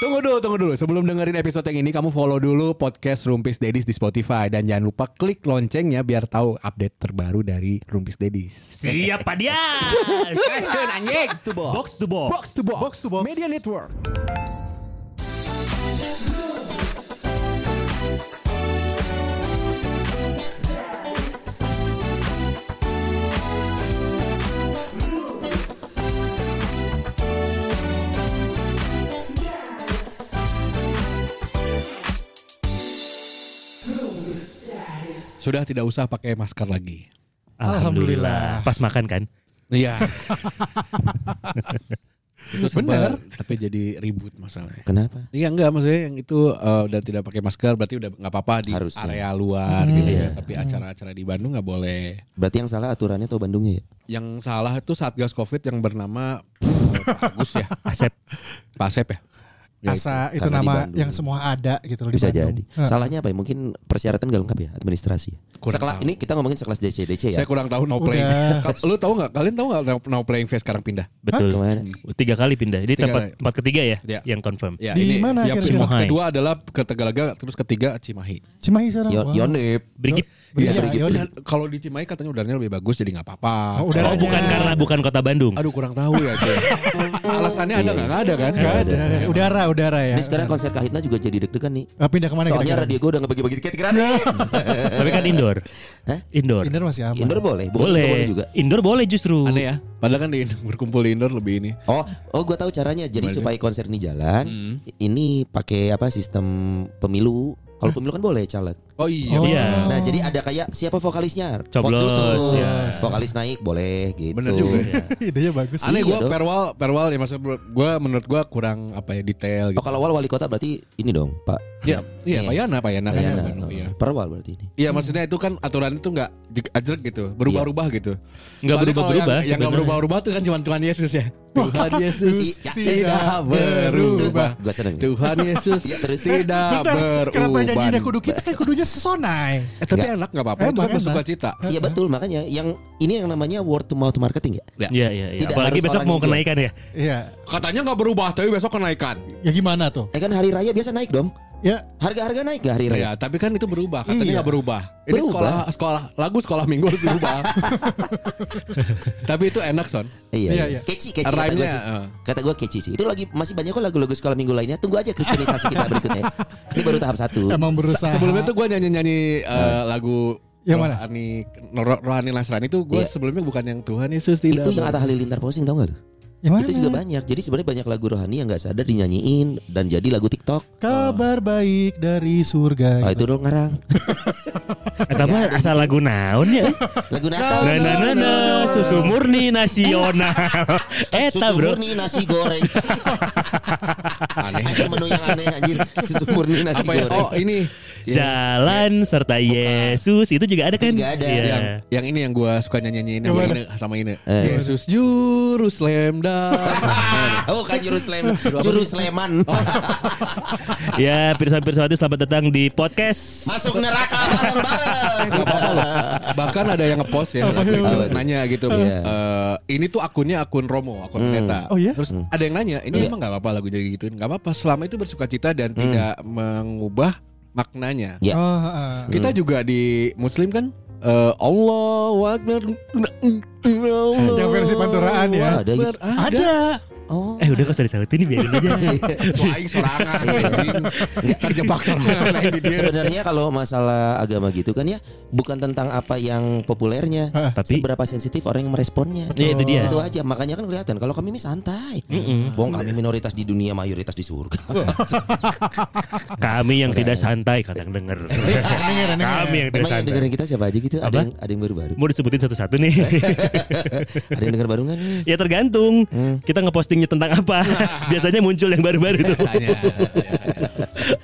Tunggu dulu, tunggu dulu. Sebelum dengerin episode yang ini, kamu follow dulu podcast Rumpis Dedis di Spotify dan jangan lupa klik loncengnya biar tahu update terbaru dari Rumpis Dedis. Siapa dia? Question anjing. Box to box. box to box. Box to box. Box to box. Media Network. Sudah tidak usah pakai masker lagi. Alhamdulillah. Pas makan kan? Iya. itu sebar, tapi jadi ribut masalahnya. Kenapa? Iya enggak maksudnya yang itu eh, udah tidak pakai masker berarti udah nggak apa-apa di Harusnya. area Iya. Hmm. luar gitu ya. Tapi acara-acara di Bandung nggak boleh. Berarti yang salah aturannya atau Bandungnya ya? Yang salah itu Satgas Covid yang bernama eh, Pak Agus ya, Asep. Pak Asep ya. Ya, Asa itu Karena di nama Bandung. yang semua ada gitu loh di Bisa Bandung. jadi. Heeh. Salahnya apa ya? Mungkin persyaratan gak lengkap ya administrasi. Nah. Kurang Sekela- tahu. ini kita ngomongin sekelas DC DC ya. Saya kurang tahu no Udah. playing. Ka- Lu tahu nggak? Kalian tahu nggak no- no playing face sekarang pindah? Betul. Kemana? Tiga kali pindah. Ini Tiga tempat kali. tempat ketiga ya Iya. yang confirm. Ya, Di ini mana yang kira-kira? spot kedua adalah ke Tegalaga, terus ketiga Cimahi. Cimahi sekarang. Yo- Wah. Yonip. Brigit. Iya, Iya, iya, dan kalau di Cimahi katanya udaranya lebih bagus jadi nggak apa-apa. Oh, Kalau- Oh, udaranya. bukan karena bukan kota Bandung. Aduh kurang tahu ya. Cuy. Alasannya ada nggak? Nggak ada kan? Nggak ada. Udara, udara ya. Ini sekarang konser Kahitna juga jadi deg-degan nih. Ah, Pindah kemana Soalnya kira-kira? radio gue udah ngebagi-bagi tiket gratis. Nah. Tapi kan indoor. Hah? Indoor. Indoor masih aman. Indoor boleh, bukan boleh. boleh juga. Indoor boleh justru. Aneh ya. Padahal kan di berkumpul di indoor lebih ini. Oh, oh gue tahu caranya. Jadi Gimana sih? supaya konser ini jalan, Hmm. ini pakai apa sistem pemilu. Kalau pemilu kan boleh caleg. Oh iya. Oh. Iya. Nah, jadi ada kayak siapa vokalisnya? Vote Coblos, dulu tuh. ya. Vokalis naik boleh gitu. Bener juga ya. Idenya bagus. Aneh Iya gue dong. perwal perwal ya maksud gue menurut gue kurang apa ya detail Oh, gitu. kalau awal wali kota berarti ini dong, Pak. Ya, iya Pak Yana, Pak Yana. kan Bayana. ya, Bandung, Iya. Perwal berarti ini. Iya maksudnya itu kan aturan itu nggak jeg- ajrek gitu, berubah-ubah gitu. Nggak Soalnya kalau Yang, berubah-berubah yang nggak sebenarnya. berubah-ubah tuh kan cuma Tuhan Yesus ya. Tuhan Yesus Iya, tidak berubah. Gua seneng nih. Tuhan Yesus Iya, terus. tidak Bentar, Kenapa janjinya berubah. kudu kita kan kudunya sesonai. Eh, tapi Nggak. enak nggak apa-apa. Emang Itu kan enak. bersuka cita. Iya betul makanya yang ini yang namanya word to mouth marketing ya. Iya, iya, iya. Tidak Apalagi harus besok orang mau hijau. kenaikan ya. Iya. Katanya nggak berubah, tapi besok kenaikan. Ya gimana tuh? Eh kan hari raya biasa naik dong. Ya Harga-harga naik gak hari raya? Iya, tapi kan itu berubah. Katanya Iya. nggak berubah. Ini Berubah. sekolah sekolah lagu sekolah minggu harus berubah. tapi itu enak son. Iya, Iya, iya, iya. Keci, keci kata Rhyme-nya, gue sih. eh. Kata gue keci sih. Itu lagi masih banyak kok lagu-lagu sekolah minggu lainnya. Tunggu aja kristenisasi kita berikutnya. Ini baru tahap satu. Se- emang berusaha. Sebelumnya tuh gue nyanyi nyanyi lagu Yang mana? rohani Ro- rohani Nasrani itu gue Iya. sebelumnya bukan yang Tuhan Yesus tidak. itu yang berubah. Atta Halilintar posting tau gak lu? Yang mana? Itu juga banyak. Jadi sebenarnya banyak lagu rohani yang nggak sadar dinyanyiin dan jadi lagu TikTok. Kabar baik dari surga. Iya. Ah gitu. Oh. itu dong ngarang. Atau mah asal lagu naon ya. Lagu Natal. Nah, Na na na na susu murni nasional. Nah, Eta Susu bro. murni nasi goreng. Aneh. Ada menu yang aneh anjir. Susu murni nasi Apa ya? goreng. Oh ini Jalan serta Yesus itu juga ada kan? juga ada. Iya. yang yang ini yang gue suka nyanyi nyanyiin sama Gimana? ini sama ini. Eh. Yesus Jerusalem dan Oh kan Jerusalem Jerusaleman Oh. Ya, pirsa-pirsawati selamat datang di podcast. Masuk neraka bareng-bareng Gak apa-apa loh. Bahkan ada yang ngepost ya waktu itu, Apa tuh? nanya gitu. Iya. Hmm. "Eh, ini tuh akunnya akun Romo, akun pendeta. Oh, iya? Terus ada yang nanya, ini emang gak apa-apa lagu jadi gituin. Gak apa-apa, selama itu bersuka cita dan Hmm. tidak mengubah maknanya. Ya. Oh, heeh. Kita juga di Muslim kan, eh, Allahu Akbar. Allah Yang versi panturaan ya? Ada gitu. Ada. Ada. Oh Eh udah kok usah disautin biarin aja. Wah, ini sorangan. anjing. Terjebak sorangan. ini dia. Sebenarnya kalau masalah agama gitu kan ya bukan tentang apa yang populernya, Tapi- seberapa sensitif orang yang meresponnya. Iya, itu dia. Itu aja makanya kan kelihatan kalau kami ini santai. Bong kami minoritas di dunia, mayoritas di surga. Kami yang tidak santai kadang denger. Ah, Kami yang tidak iya, Emang iya, yang santai. dengerin kita siapa aja gitu? Ada Apa? yang ada yang baru-baru. Mau disebutin satu-satu nih. ada yang denger baru nggak nih? ya tergantung Hmm. kita ngepostingnya tentang apa. Biasanya muncul yang baru-baru tuh. Tanya.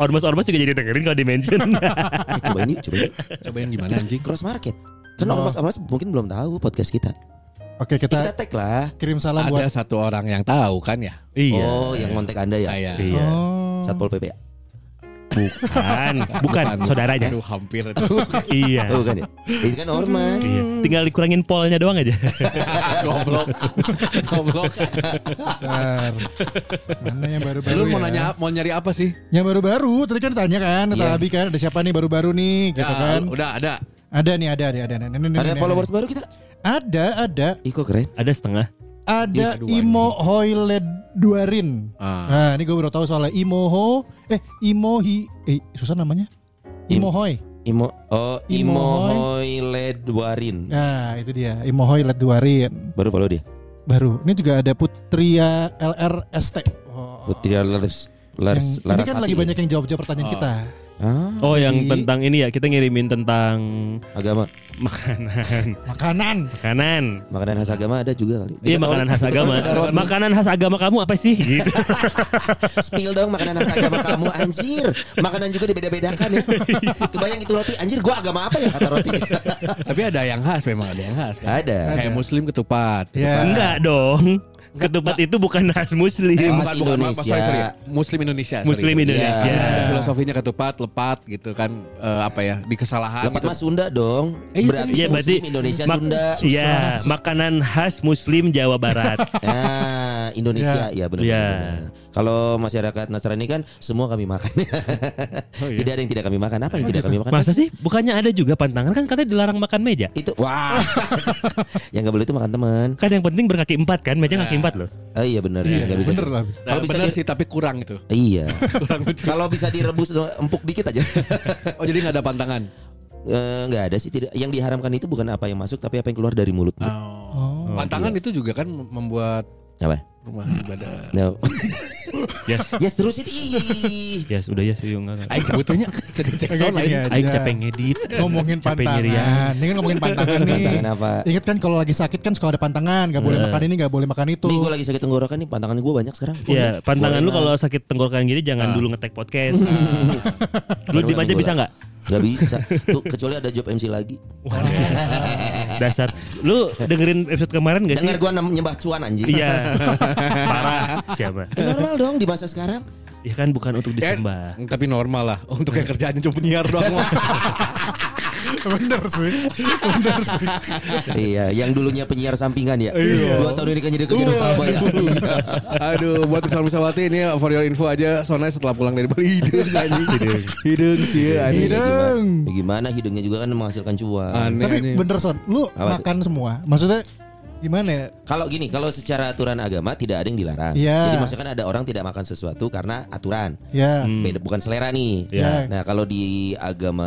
Ormas-ormas juga jadi dengerin kalau di mention. Eh, coba ini, coba ini. Cobain gimana Kita anjing? cross market. Kan ormas-ormas mungkin belum tahu podcast kita. Oke Eh, Kita kita tag lah. kirim salam buat. Ada satu orang yang tahu kan ya? iya. Oh, yang kontak Oh, Anda ya? Saya. Iya. Oh. Satpol PP ya? Bukan, Kan. bukan saudaranya. Aduh hampir itu. Iya. Oh, bukan ya? Itu kan ormas. Iya. Tinggal dikurangin polnya doang aja. Goblok. Goblok. Bentar. Mana yang baru-baru Lu ya? mau nanya mau nyari apa sih? Yang baru-baru tadi kan tanya kan, kata Iya. Abi kan ada siapa nih baru-baru nih gitu Ya, kan. Udah ada. Ada nih, ada nih, ada nih. Nih, nih, Iya. nih, Ada nih, followers baru kita. Ada, ada. Ih kok keren. Ada setengah. Ada Ih, aduh, Imo Hoiled Duarin. Ah. Nah, ini gue baru tahu soalnya Imoho eh Imohi eh susah namanya. Imohoi. Imo oh Imohoi. Imohoi Ledwarin. Nah, itu dia. Imohoi Led Duarin. Baru follow dia. Baru. Ini juga ada Putria LRST. Oh. Putri Lars Lars yang, ini Laras kan lagi banyak yang Oh. jawab-jawab pertanyaan kita. Ah, Oh, yang Jadi- tentang ini ya, kita ngirimin tentang agama. makanan. Makanan. Makanan. Makanan khas agama ada juga kali. Iya, Kita makanan tahu- khas agama. Makanan khas agama kamu apa sih? Gitu. Spill dong makanan khas agama kamu anjir. Makanan juga dibeda-bedakan ya. Kebayang itu roti anjir gua agama apa ya kata roti. Tapi ada yang khas memang ada Iya. yang khas kan. ada. Kayak muslim ketupat. Ya. Enggak dong. Ketupat itu bukan Eh, khas muslim. bukan, Khas bukan, maaf, Indonesia. sorry, sorry. Muslim Indonesia. sorry. Muslim Indonesia. Iya, Ada filosofinya ketupat, lepat gitu kan eh, apa ya di kesalahan Lepat gitu. mas Sunda dong. Eh, iya, Berarti Iya, berarti Muslim Indonesia mak- Sunda. Iya, Susah. makanan khas muslim Jawa Barat. Ah, Indonesia ya, benar Ya. benar. Kalau masyarakat Nasrani kan semua kami makan. Oh, iya. Tidak ada yang tidak kami makan. Apa yang tidak kami makan? Masa sih? Bukannya ada juga pantangan kan katanya dilarang makan meja. itu wah. yang nggak boleh itu makan teman. Kan yang penting berkaki empat kan, meja kaki empat loh. Oh, iya benar sih, Iya, nggak bisa. bener lah. Nah, Kalau bisa bener di- sih tapi kurang itu. Iya. Kalau bisa direbus empuk dikit aja. Oh jadi nggak ada pantangan. Eh, Nggak ada sih tidak. Yang diharamkan itu bukan apa yang masuk tapi apa yang keluar dari mulut. Oh. Pantangan iya. itu juga kan membuat Apa? rumah ibadah. No. Yes. yes terusin ih. Yes, udah yes, yuk enggak. enggak. Aing sebetulnya cek cek Kan? Kayak sound gini aing. aja. Aing capek ngedit. Ngomongin Capek ya. pantangan. nyerian. Ini kan ngomongin pantangan nih. Pantangan apa? Ingat kan kalau lagi sakit kan suka ada pantangan, nggak Eh. boleh makan ini, nggak boleh makan itu. Nih gue lagi sakit tenggorokan nih pantangan gue banyak sekarang. Iya, pantangan lu kalau sakit tenggorokan gini Ah. jangan dulu ngetek podcast. Lu diem aja bisa nggak? Gak bisa. Tuh kecuali ada job MC lagi. Dasar. Lu dengerin episode kemarin gak sih? Dengar gue nyembah cuan anjing. Iya. Parah. Siapa? Eh, normal dong di masa sekarang. Ya kan bukan untuk Ya, disembah. tapi normal lah untuk yang kerjaannya cuma penyiar doang. Bener sih. Bener sih. iya, yang dulunya penyiar sampingan ya. Iya. Dua tahun ini kan jadi kerja utama ya. Iya. Aduh, buat Ustaz Musawati ini for your info aja Sona setelah pulang dari Bali hidung anjing. Hidung sih anjing. Hidung. Ya Gimana hidungnya juga kan menghasilkan cuan. Aneh Tapi aneh. bener son, lu Apa tuh? makan semua. Maksudnya gimana ya? Kalau gini, kalau secara aturan agama tidak ada yang dilarang. Iya. Jadi maksudnya kan ada orang tidak makan sesuatu karena aturan. Ya. Hmm. Beda bukan selera nih. Ya. Nah, kalau di agama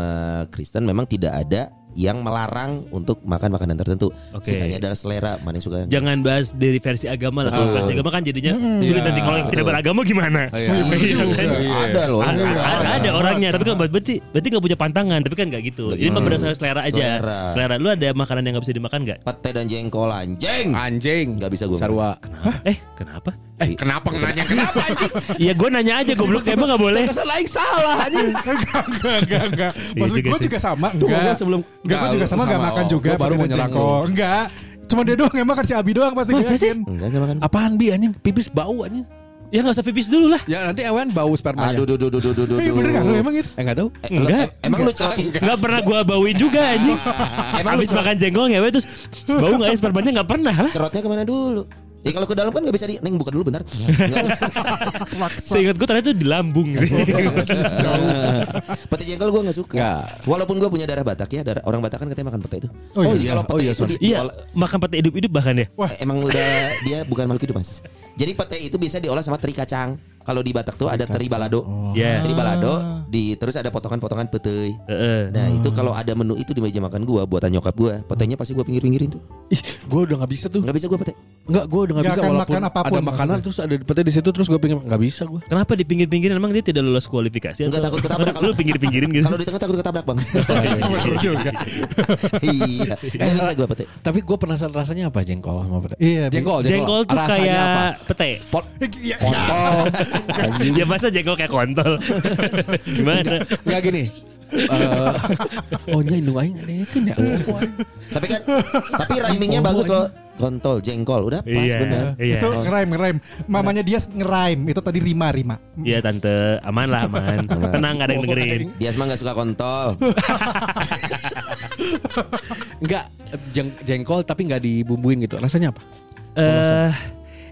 Kristen memang tidak ada yang melarang untuk makan makanan tertentu. Oke. Sisanya adalah selera mana yang suka. Jangan bahas dari versi agama lah. Kalau versi agama kan jadinya sulit Iya. nanti kalau yang tidak beragama gimana? Iya. Iya kan? Ada loh. Ada, Iya. ada- ada orangnya, tapi kan berarti berarti nggak punya pantangan, tapi kan nggak gitu. Jadi memang berdasarkan selera aja. Selera. Selera. Lu ada makanan yang nggak bisa dimakan nggak? Pete dan jengkol anjing. Anjing. Nggak bisa gua. Sarwa. Eh, kenapa? Eh, kenapa nanya kenapa anjing? Iya, gue nanya aja goblok emang nggak boleh. Kesel aing salah anjing. enggak, enggak, enggak, enggak. Iya Maksud juga gue sih. juga sama, Tuh, enggak. gua sebelum- enggak, gue juga sama, enggak Sama, makan oh. juga. Gua baru pakai mau nyerang jengkol. lu. Enggak. Cuma dia doang yang makan si Abi doang pasti ya kan? Masa yakin. Enggak, enggak makan. Apaan bi anjing? Pipis bau anjing. Ya nggak usah pipis dulu lah. Ya nanti awan bau sperma. Aduh, duh, duh, duh, duh, duh, duh. Iya bener enggak lu emang itu? Eh enggak tahu. Eh, lu- Enggak. em- Emang lu celotin Nggak pernah gue bauin juga anjing. Emang Habis lu- makan jengkol ngewe terus bau nggak ya spermanya nggak pernah lah. cerotnya kemana dulu? Ya kalau ke dalam kan nggak bisa di Neng buka dulu bentar Seingat gue ternyata itu di lambung Iya. sih. Pete jengkol gue nggak suka Nggak. Walaupun gue punya darah Batak ya darah, Orang Batak kan katanya makan pete itu Oh iya. Kalau Oh pete iya, itu Son. di- Iya, diolah- eh, makan pete hidup-hidup bahkan ya. Wah. Emang udah Dia bukan makhluk hidup mas Jadi pete itu bisa diolah sama teri kacang Kalau di Batak tuh ada teri balado Iya. Teri balado di, Terus ada potongan-potongan pete Heeh. Nah itu kalau ada menu itu di meja makan gue Buatan nyokap gue Petenya pasti gue pinggir-pinggirin tuh Eh, Ih, gua udah nggak bisa tuh. Nggak bisa gue pete Enggak, gua udah nggak Nggak bisa akan walaupun makan apapun ada makanan maksudnya. terus ada pete di situ terus gua pengen nggak bisa gua. Kenapa di pinggir-pinggir emang dia tidak lolos kualifikasi? Nggak, atau- takut ketabrak kalau- Lu pinggir-pinggirin gitu. Kalau di tengah takut ketabrak bang Iya, Bener juga. Iya Nggak bisa gue pete Tapi gua penasaran rasanya apa jengkol sama pete. Iya, Bi. jengkol, Jengkol tuh Rasanya apa? kayak pete. Pot Eh, Iya. Ya masa jengkol kayak kontol. Gimana? Enggak gini. Eh, oh nya indung aing ada ya kan ya. Tapi kan tapi rhymingnya bagus loh. kontol, jengkol. Udah pas Iya, bener. iya. Itu ngerem ngerem. Mamanya dia ngerem. Itu tadi Rima Rima. Iya tante, aman lah aman. Tenang gak ada yang dengerin. Eh, Dia mah gak suka kontol. Enggak jeng- jengkol tapi nggak dibumbuin gitu. Rasanya apa? Eh,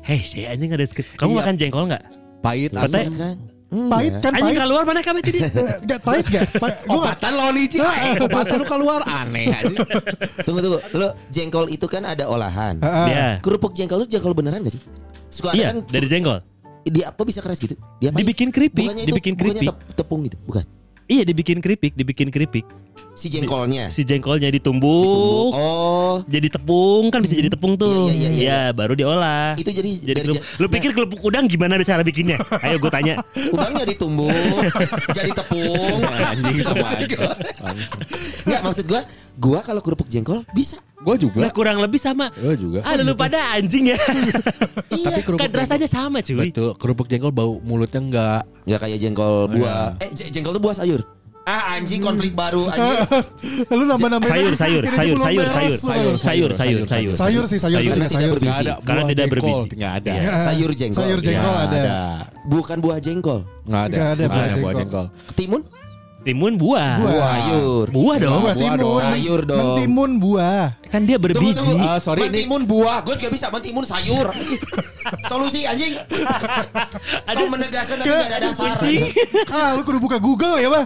hei, sih anjing ada sedikit. Kamu Iya. makan jengkol nggak? Pahit, Katanya- asam. kan? Pahit Iya. kan Anjing pahit. keluar mana kami tadi? Eh, Gak pahit gak? Pa- Oh, gua gak- Obatan lawan Ici. eh, Obatan lu keluar aneh aja. Tunggu tunggu. Lo jengkol itu kan ada olahan. Heeh. Iya. Kerupuk jengkol itu jengkol beneran gak sih? Suka ada Iya, kan dari jengkol. dia apa bisa keras gitu? Dia apa? Dibikin keripik, bukannya itu dibikin bukannya keripik. tep- tepung gitu, bukan. Iya, dibikin keripik, dibikin keripik. Si jengkolnya. Si jengkolnya ditumbuk, Oh, jadi tepung kan bisa jadi tepung tuh. Iya, iya, iya, Ya, baru diolah. itu jadi Jadi dari nah. kelup- je- lu pikir kerupuk udang gimana cara bikinnya? Ayo gue tanya. Nah, udangnya ditumbuk jadi tepung anjing nggak maksud gua gua kalau kerupuk jengkol bisa Gue Nah juga. kurang lebih sama. Oh, Gue juga. Ah lu pada anjing ya. Tapi kerupuk kan rasanya sama jengkol- cuy. Betul, kerupuk jengkol bau mulutnya enggak. nggak kayak jengkol buah eh je- jengkol tuh buah sayur ah anjing konflik baru anjing Lu nambah-nambahin. Sayur, sayur, sayur, Ini juga sayur, belum sayur, beres, lu. sayur, sayur, sayur, sayur. Sayur sih sayur, itu Sayur. Iya. juga sayur sih. Enggak ada. Karena buah tidak jengkol. berbiji. Nggak ada. Iya. Heeh. Sayur jengkol. Sayur jengkol Nggak ada. Nah, bukan buah jengkol Nggak ada. Nggak ada Nggak buah ada buah jengkol. jengkol. timun Timun buah. Buah. sayur Buah dong. Buah timun. dong. Sayur dong. Mentimun buah. Kan dia Tunggu, berbiji. tunggu. Ah, sorry, ini- mentimun buah. Gue juga bisa mentimun sayur. Solusi anjing. Ada menegaskan tapi gak ada dasar. Pusing. Ah, lu kudu buka Google ya, Pak.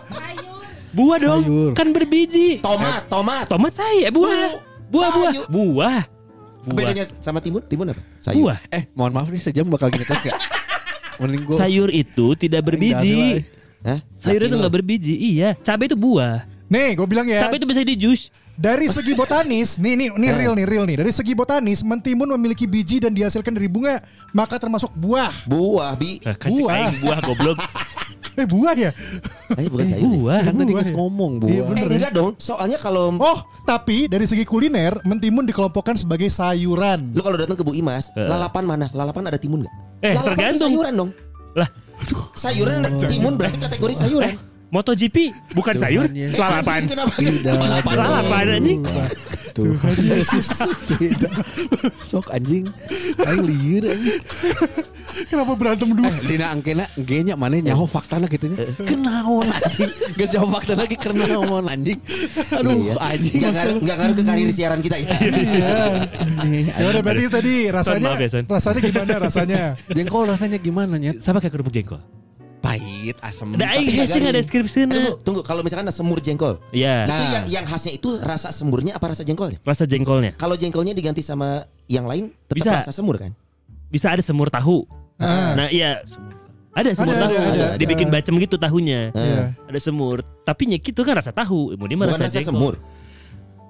Buah dong. Sayur. Kan berbiji. Tomat, tomat. Tomat saya buah. Bu- Buah buah. sayur. Buah. Buah. Bedanya sama timun, timun apa? Buah. Eh, mohon maaf nih sejam bakal ngetes enggak? Mending gua Sayur itu tidak berbiji. Hah? Sayur itu Yakin nggak lo? berbiji. Iya. Cabai itu buah. Nih, gue bilang ya. Cabai itu bisa di jus. Dari segi botanis, nih nih Eh. nih real nih real nih. Dari segi botanis, mentimun memiliki biji dan dihasilkan dari bunga, maka termasuk buah. Buah, bi. Nah, kan cek Buah. aing buah goblok. Eh buah ya? Eh, bukan sayur. ya? buah. kan tadi Buah nges ya? ngomong buah. Iya, Eh, bener. enggak dong. Soalnya kalau Oh, tapi dari segi kuliner, mentimun dikelompokkan sebagai sayuran. lu kalau datang ke Bu Imas, Eh. lalapan mana? Lalapan ada timun nggak? Eh, lalapan tergantung. Oh. itu sayuran dong. Lah, Sayuran ada timun berarti kategori sayuran. eh, MotoGP bukan sayur, Tuhannya. lalapan. Kenapa? Lalapan. Lalapan anjing. Tuh. Yesus. Sok anjing. Aing liur anjing. Kenapa berantem dulu? Dina angkena engenya mana nyaho faktana gitu Eh. nya. Kenaon anjing. Geus jauh fakta lagi kenaon anjing. Iya, Aduh anjing. Nggak ngaruh nggak ngaruh ke karir siaran kita Iya, ya. Aneh, Ya udah aneh. berarti tadi rasanya maaf ya, Son. rasanya gimana rasanya? Jengkol rasanya gimana nyet? Sama kayak kerupuk jengkol. Pahit, asam. Da aing nggak hese garing. ada deskripsinya. Tunggu, tunggu. Kalau misalkan ada semur jengkol, Iya. itu ya. yang yang khasnya itu rasa semurnya apa rasa jengkolnya? Rasa jengkolnya. Kalau jengkolnya diganti sama yang lain, tetap Bisa. rasa semur kan? Bisa ada semur tahu. Ah. Nah, iya. Ada semur Ada, tahu. ada, ada, ada. Dibikin bacem gitu tahunya. Iya. Ada semur, tapi nyeki itu kan rasa tahu. Mau dia mah Bukan rasa rasa jengkol. semur.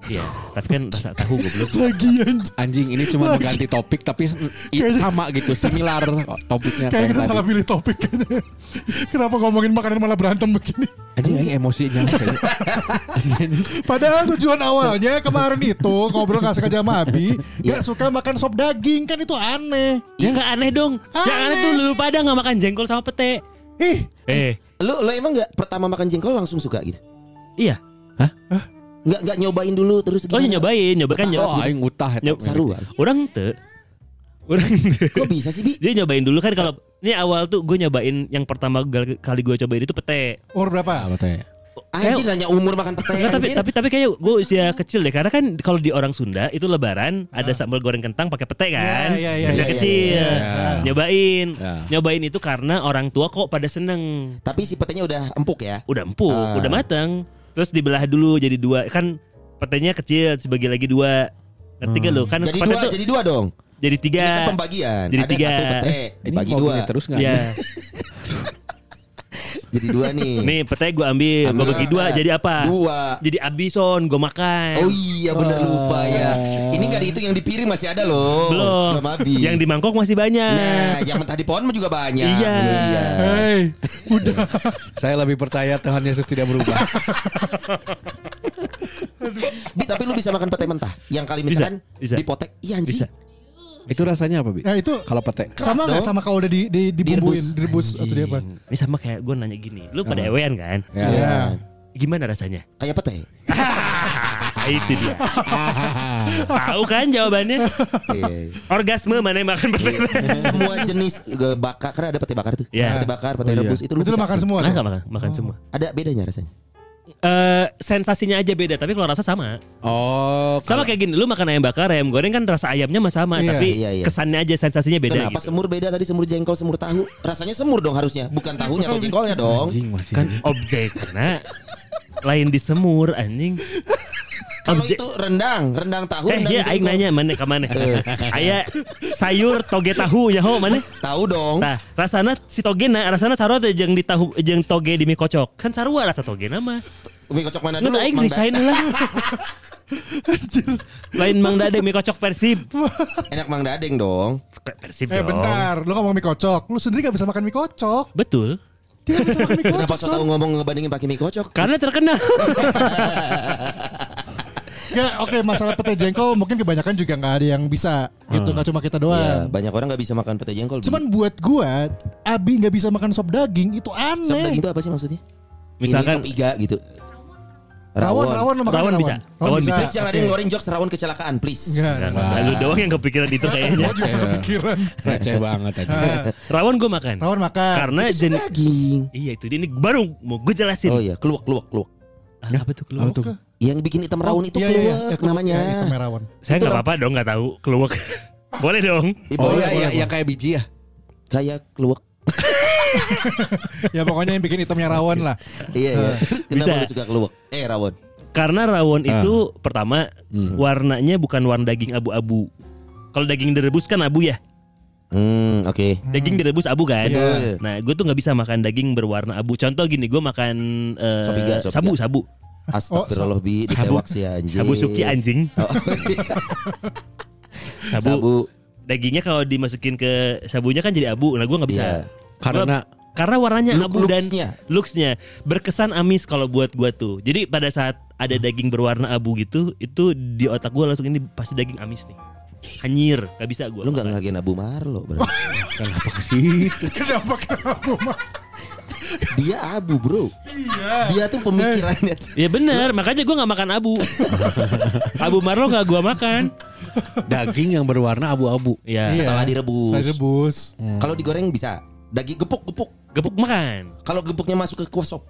Iya, tapi kan rasa tahu goblok. Lagi anj- Anjing ini cuma mengganti topik tapi s- i- eh. Kayaknya- sama gitu, similar topiknya Kayak kayak kita tadi. salah pilih topik kayaknya. Kenapa ngomongin makanan malah berantem begini? Anjing aing emosinya. Padahal tujuan awalnya kemarin itu ngobrol nggak sengaja sama Abi, nggak suka makan sop daging kan itu aneh. Ya enggak aneh dong. Yang Aneh. aneh tuh lu pada enggak makan jengkol sama pete. Ih, Eh, Lu lu emang nggak pertama makan jengkol langsung suka gitu? iya. Nggak nggak nyobain dulu terus Oh, gimana? ya nyobain, nyobain kan Oh, iya. nyobain. aing utah. Nyop, Saru. ah. Orang tuh Orang tuh Kok bisa sih bi? Dia nyobain dulu kan kalau ini awal tuh gue nyobain yang pertama gal- kali gue cobain itu pete. umur berapa? Apa tanya? Anjir nanya umur makan pete. Nggak, tapi Iya, anjir. tapi tapi kayak gue usia kecil deh karena kan kalau di orang Sunda itu lebaran Ah. ada sambal goreng kentang pakai pete kan. Ya, ya, ya, Usia ya, ya, kecil. ya, ya. Nyobain. Iya. Ya. Nyobain itu karena orang tua kok pada seneng. Tapi si petenya udah empuk ya. Udah empuk, Ah. udah matang. Terus dibelah dulu jadi dua kan petenya kecil dibagi lagi dua. Ketiga loh kan Hmm. Jadi pete dua, tuh jadi dua dong. jadi tiga. Ini kan pembagian. Jadi Ada tiga. satu pete Ini dibagi mau dua. gini terus enggak? Iya. Jadi dua nih. Nih pete gue ambil, gue Ambil bagi dua rasa. jadi apa? Dua. Jadi abison gue makan. Oh iya bener lupa ya. Ini nggak dihitung yang di piring masih ada Eh. loh. Belum. Belum habis. Yang di mangkok masih banyak. Nah, yang mentah di pohon juga banyak. Iya. Hei, udah. Saya lebih percaya Tuhan Yesus tidak berubah. Bi, tapi lu bisa makan pete mentah. Yang kali Bisa, misalkan bisa. dipotek. Iya anjing. Bisa. itu rasanya apa, Bi? Nah itu Kalau pete. sama nggak dong. sama kalau udah di, di dibumbuin, direbus Direbus atau di apa? Ini sama kayak gue nanya gini, lu pada ewean kan? Ya. Iya. Gimana rasanya? Kayak pete. Ah, Itu dia. Tahu kan jawabannya? Iya, iya. Orgasme mana yang makan pete bakar? Semua jenis eh, bakar karena ada pete bakar tuh. Iya. Pete bakar, pete Oh, iya. rebus itu lu Itu lu bisa- makan semua Masa tuh? nggak makan, makan semua. Ada bedanya rasanya. Eh sensasinya aja beda, tapi kalau rasa sama. Oh, Sama kayak gini, lu makan ayam bakar, ayam goreng kan rasa ayamnya mah sama, Iya. tapi Iya, iya. kesannya aja sensasinya beda Kenapa gitu. semur beda tadi semur jengkol semur tahu? Rasanya semur dong harusnya, bukan tahunya atau jengkolnya dong. anjing masih. Kan Gitu. objek, nah. Lain disemur anjing. Kalau Objek- itu rendang, rendang tahu, Eh rendang iya aing nanya mana ke mana Eh. Aya sayur toge tahu ya nyaho mana Tahu dong. Nah rasana si toge na rasana sarua teh jeung di tahu jeung toge di mie kocok Kan sarua rasa toge na mah Mie kocok mana Nges dulu? aing Mang resign Dadang. lah Lain Mang Dadeng mie kocok persib Enak Mang Dadeng dong. Ke- Persib Eh dong bentar, lu ngomong mie kocok. Lu sendiri gak bisa makan mie kocok. Betul Dia nggak bisa makan mie Kenapa kocok. so tau Son. ngomong ngebandingin pakai mie kocok? Karena terkenal Nggak, Ya, oke masalah pete jengkol mungkin kebanyakan juga nggak ada yang bisa. Gitu, nggak cuma kita Ya, doang. banyak orang nggak bisa makan pete jengkol. Cuman buat gua, Abi nggak bisa makan sop daging itu sop daging aneh. itu apa sih maksudnya? Misalkan Ini sop iga gitu. Rawon, rawon, lu makan Rawon nggak bisa. Rawon Rawon bisa. bisa. Please jangan ada yang ngeluarin jokes rawon kecelakaan, please. Nggak, nggak. Nah, Lu doang yang kepikiran itu kayaknya Iya. Gua juga kepikiran. Receh banget tadi. Rawon gue makan Rawon makan. Karena Itu sop jenis daging. Iya itu dia ini baru mau gue jelasin Oh iya, keluak, keluak, keluak. Ah, Apa tuh keluar? tuh? Yang bikin hitam rawon itu Iya, iya, iya. keluak Ya, keluak, namanya. ya, hitamnya rawon. Saya nggak apa-apa dong nggak tahu keluak. Boleh dong. Ih, Oh, boleh, iya, iya, boleh, iya, kayak biji ya. boleh. Kayak keluak. Ya pokoknya yang bikin hitamnya rawon lah. Iya, iya. Kenapa Bisa. lu suka keluak? Eh, rawon. Karena rawon Ah. itu pertama Hmm. warnanya bukan warna daging abu-abu. Kalau daging direbus kan abu ya. Hmm, oke. Daging direbus abu kan. Betul. Nah, gue tuh nggak bisa makan daging berwarna abu. Contoh gini, gue makan eh, Sop iga, sop sabu iga. sabu. Oh, Astagfirullah bi ditewak si anjing. Sabu suki anjing. Oh, Sabu. Sabu. Dagingnya kalau dimasukin ke sabunya kan jadi abu. Nah, gue nggak bisa. Iya. Karena- Gua- karena warnanya Look- abu dan looks-nya. looksnya berkesan amis kalau buat gue tuh. Jadi pada saat ada Hmm. daging berwarna abu gitu, itu di otak gue langsung ini pasti daging amis nih. Hanyir, gak bisa gue. Lu nggak ngehargain Abu Marlo bro. Kenapa ke situ? Kenapa kenapa Dia Abu bro. Iya. Dia tuh pemikirannya. Ya bener, makanya gue gak makan abu. abu Marlo gak gue makan. Daging yang berwarna abu-abu. Ya, Setelah direbus. Saya rebus. Kalau digoreng bisa. Daging gepuk-gepuk. gepuk makan. Kalau gepuknya masuk ke kuah sop.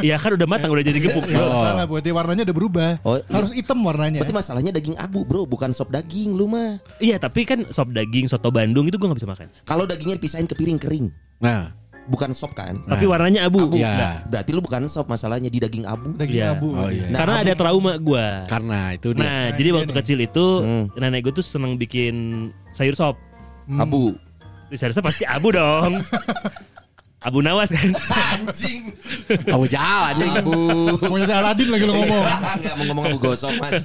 Ya kan udah matang, udah jadi gepuk. Ya, salah buat dia warnanya udah berubah. Oh, Harus hitam warnanya. Berarti masalahnya daging abu bro, bukan sop daging lu mah. Iya, tapi kan sop daging, soto Bandung itu gue gak bisa makan. Kalau dagingnya dipisahin ke piring kering, Nah, bukan sop kan? Tapi warnanya abu. Abu. Iya. Nah, berarti lu bukan sop masalahnya di daging abu. Daging Iya. abu. Oh, iya. Nah, Karena abu- Iya. ada trauma gue. karena itu dia. Nah, jadi dia waktu nih. kecil itu Hmm. nenek gue tuh seneng bikin sayur sop. Hmm. Abu. Di sayur sop pasti abu dong. abu nawas kan. Anjing. Abu jalan anjing. Abu. Maunya kayak Aladin lagi lo ngomong. Enggak mau ngomong abu gosok mas.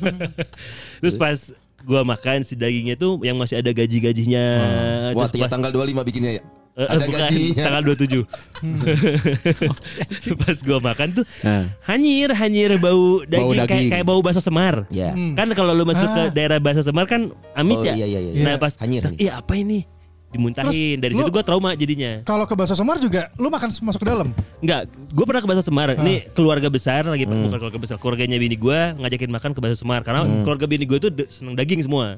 Terus Iya. pas gue makan si dagingnya tuh yang masih ada gaji-gajinya. Terus Wah, Oh. tiap pas- tanggal 25 bikinnya ya. Eh, eh, Ada bukan, gajinya. Hmm. tanggal 27 Pas gua makan tuh Nah. Hanyir, hanyir bau daging, Bau Kayak, daging. kayak bau bakso semar Ya. Kan kalau lu masuk Ah. ke daerah bakso semar kan amis Oh, ya iya, iya, iya. Nah Iya. pas Hanyir, terus, hanyir. Iya apa ini Dimuntahin Terus Dari lu- situ gua trauma jadinya Kalau ke bakso semar juga lu makan masuk ke dalam. Enggak, gue pernah ke Bakso Semar. Ini keluarga besar lagi Hmm. bukan keluarga besar, keluarganya bini gue ngajakin makan ke Bakso Semar karena Hmm. keluarga bini gue tuh de- seneng daging semua.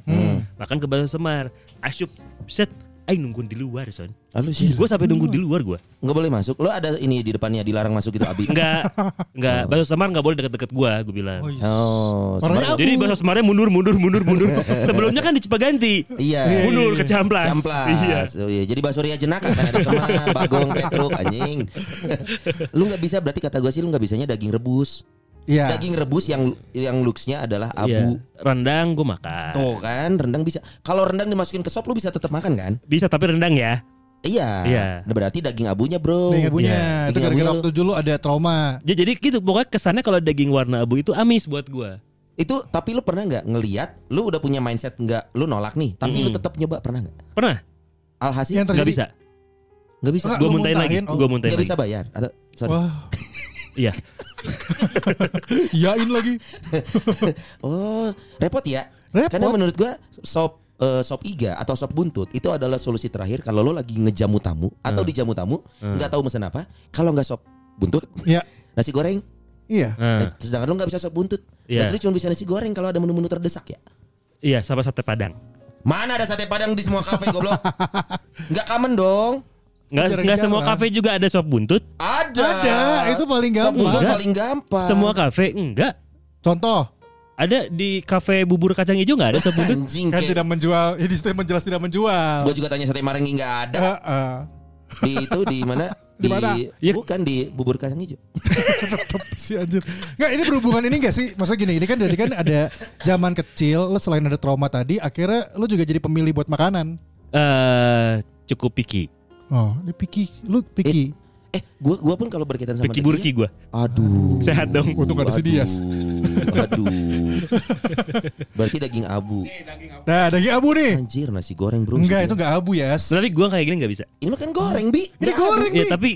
Makan ke Bakso Semar. Asyup set Aing nungguin di luar son Halo sih. Gue sampai nunggu Hmm. di luar gue Nggak boleh masuk. Lo ada ini di depannya dilarang masuk itu Abi. Enggak Enggak Bakso Semar gak boleh deket-deket gue Gue bilang yes. Oh, Warnanya abu. Jadi Bakso Semarnya mundur mundur mundur mundur Sebelumnya kan di Cipaganti Iya. Mundur ke Ciamplas Camplas. Iya Oh, iya. Jadi bakso Ria jenaka kan ada semar, bagong, petruk, anjing. lu nggak bisa berarti kata gue sih lu nggak bisanya daging rebus. Iya. Daging rebus yang yang looksnya adalah Ya. Iya. abu. Rendang gue makan Tuh kan rendang bisa. Kalau rendang dimasukin ke sop lu bisa tetap makan kan? Bisa tapi rendang ya Iya. Iya. Nah, Berarti daging abunya bro. Daging abunya. Iya. Itu Daging gara-gara abunya waktu dulu ada trauma. Ya, Jadi gitu Pokoknya kesannya kalau daging warna abu itu amis buat gue Itu tapi lu pernah nggak ngeliat? Lu udah punya mindset nggak? Lu nolak nih. Tapi lu tetap nyoba pernah nggak? Pernah Alhasil Yang Gak terjadi. bisa. nggak bisa. Enggak, Gue lu muntahin lagi. muntahin, oh. Gue muntahin Nggak lagi. bisa bayar. Atau sorry. Wah, Iya. yain lagi. Oh, repot ya. Repot. Karena menurut gua sop eh, sop iga atau sop buntut itu adalah solusi terakhir kalau lo lagi ngejamu Eh. tamu atau dijamu tamu nggak tahu mesen apa. Kalau nggak sop buntut, Ya. nasi goreng. Eh, Iya. Nah, Sedangkan lu nggak bisa sop buntut. Iya. Berarti lu cuma bisa nasi goreng kalau ada menu-menu terdesak ya. iya sama sate padang. Mana ada sate padang di semua kafe goblok? Nggak common dong. Nggak, Jarang nggak semua jarang. kafe juga ada sop buntut. Ada. Ada, itu paling Sop gampang. buntut Enggak. paling Ah. gampang. Semua kafe enggak. Contoh, Ada di kafe bubur kacang hijau nggak ada sop buntut? anjing kan kayak tidak menjual, ini statement jelas tidak menjual. Gue juga tanya sate marangi nggak ada Eh, eh. di itu di mana? Di mana? Iya. Ya. bukan di bubur kacang hijau. Tetep sih anjir. Nggak, ini berhubungan ini gak sih? Maksudnya gini, ini kan dari kan ada zaman kecil, lo selain ada trauma tadi, akhirnya lo juga jadi pemilih buat makanan. Eh cukup picky. Oh, ini picky, lu picky. Eh, gua gua pun kalau berkaitan sama Picky dia- burki gua. Aduh. Sehat dong. Untung nggak ada si Dias. Aduh. aduh. Berarti daging abu. Nah, daging abu nih. Anjir, nasi goreng, Bro. Enggak, itu enggak abu ya. Tapi gua kayak gini nggak bisa. Ini makan goreng, Bi. Ini Nggak goreng Ya nih. tapi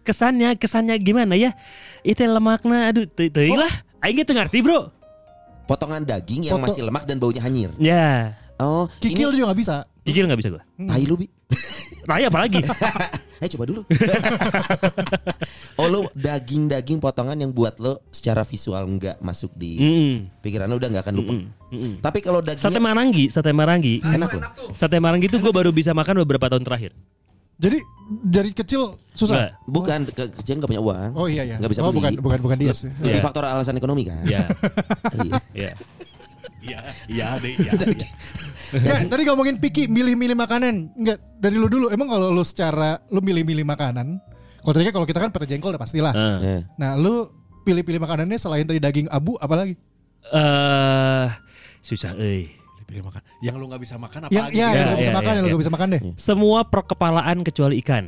kesannya kesannya gimana ya? Itu yang lemakna aduh teu teu lah. Oh. Aing teu ngerti, Bro. abu. Potongan daging yang Potong- masih lemak dan baunya hanyir. Ya, Oh, Kikil ini juga nggak bisa. jujur nggak bisa gua. tai lu, Bi. Nah, ya apalagi? Eh, coba dulu. oh, lu daging-daging potongan yang buat lo secara visual nggak masuk Hmm. di Mm-mm. pikiran lo udah nggak akan lupa. Mm-mm. Mm-mm. Tapi kalau Sate Iya. dagingnya Marangi, sate Marangi. enak loh. Sate Marangi itu gue baru bisa makan beberapa tahun terakhir. Jadi dari kecil susah. Nggak. Bukan ke kecil nggak punya uang. Oh iya iya. Nggak bisa oh, beli. bukan bukan bukan dia sih. Lebih Iya. faktor alasan ekonomi kan. Ya, Iya. ya. Iya, Nggak, Ya, tadi ngomongin picky milih-milih makanan. Enggak, dari lu dulu. Emang kalau lu secara lu milih-milih makanan, kalau tadi kan kalau kita kan pete jengkol udah pastilah. Eh. Eh. Nah, lu pilih-pilih makanannya selain tadi daging abu apalagi? Eh, susah. euy. Pilih makan. Yang lu nggak bisa makan apa Yang lagi? Iya, ya, Ya, yang lu nggak bisa ya, makan, ya, yang lu ya. nggak bisa makan deh. Semua perkepalaan kecuali ikan.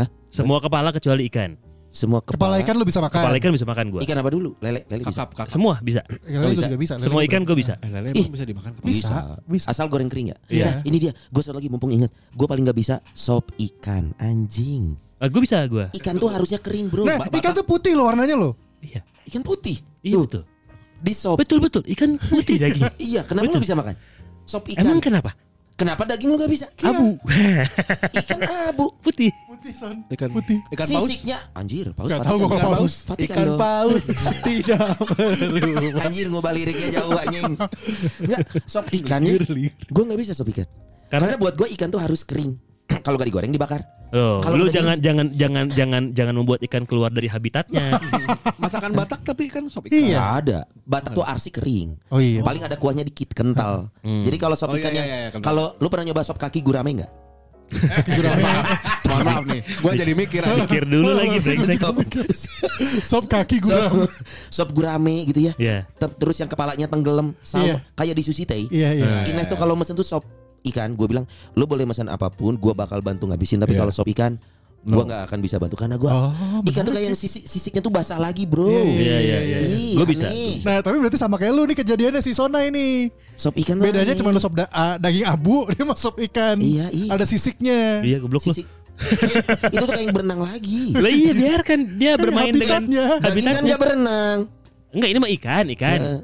Hah? Semua kepala kecuali ikan. Semua Kepala kepala, ikan lu bisa makan. Kepala ikan bisa makan gue. Ikan apa dulu? Lele, lele bisa. Kakap, kakap. Semua bisa. Ikan lu Oh, bisa. juga bisa. Semua lele ikan juga gue bisa. Eh, lele Ih. emang bisa dimakan kepala? Bisa, bisa. Asal goreng kering ya. Iya. Nah, ini dia. Gue satu lagi mumpung ingat. Gue paling nggak bisa sop ikan. Anjing. gue Ah, bisa gue. Ikan tuh harusnya kering bro. Nah, Ba- ikan tuh putih loh warnanya loh. Iya. ikan putih. Iya Tuh, betul. Di sop. Betul betul. Ikan putih daging. Iya. Kenapa lu bisa makan? Sop ikan. Emang kenapa? Kenapa daging lu nggak bisa? Iya. Abu. Ikan abu. putih. Putih son. Ikan Putih. Ikan paus. Sisiknya anjir paus. Nggak Fatih tahu kan gua kalau dong. paus. Fatih kan Ikan dong. paus tidak perlu. Anjir gue liriknya jauh anjing. Enggak, sop ikannya. Gue nggak bisa sop ikan. Karena, Karena- buat gue ikan tuh harus kering. Kalau gak digoreng dibakar. Oh, Kalau lu udah jangan jadi- jangan jangan jangan jangan membuat ikan keluar dari habitatnya. Masakan Batak tapi kan sop ikan. Iya. ada. Batak tuh arsi kering. Oh iya. Paling ada kuahnya dikit kental. Jadi kalau Oh, sop iya, ikan iya, yang iya, iya, kental. kalau lu pernah nyoba sop kaki gurame nggak? Iya. Mohon maaf nih. Gua jadi mikir Nah, anjing. Pikir dulu lagi brengsek. Sop kaki gue. Sop, sop gurame gitu ya. Iya. Ter- Terus yang kepalanya tenggelam sama Iya. kayak di sushi teh. Nah, Iya iya. Ines tuh kalau mesen tuh sop ikan, gue bilang lu boleh mesen apapun, gue bakal bantu ngabisin. Tapi kalau sop ikan, gue nggak akan bisa bantu karena gue Oh, ikan tuh kayak yang sisi- sisiknya tuh basah lagi bro. Iya iya iya. Ih, Gue bisa. aneh. Nah, tapi berarti sama kayak lu nih kejadiannya si Sona ini. Sop ikan tuh Bedanya aneh. cuma lu sop da- ah, daging abu, dia mah sop ikan. Iya, iya. Ada sisiknya. Iya goblok lu. Sisik- itu tuh kayak yang berenang lagi. Lah iya biarkan dia bermain dengan habitatnya. Daging kan habitatnya. nggak berenang. Enggak ini mah ikan, ikan. Eh,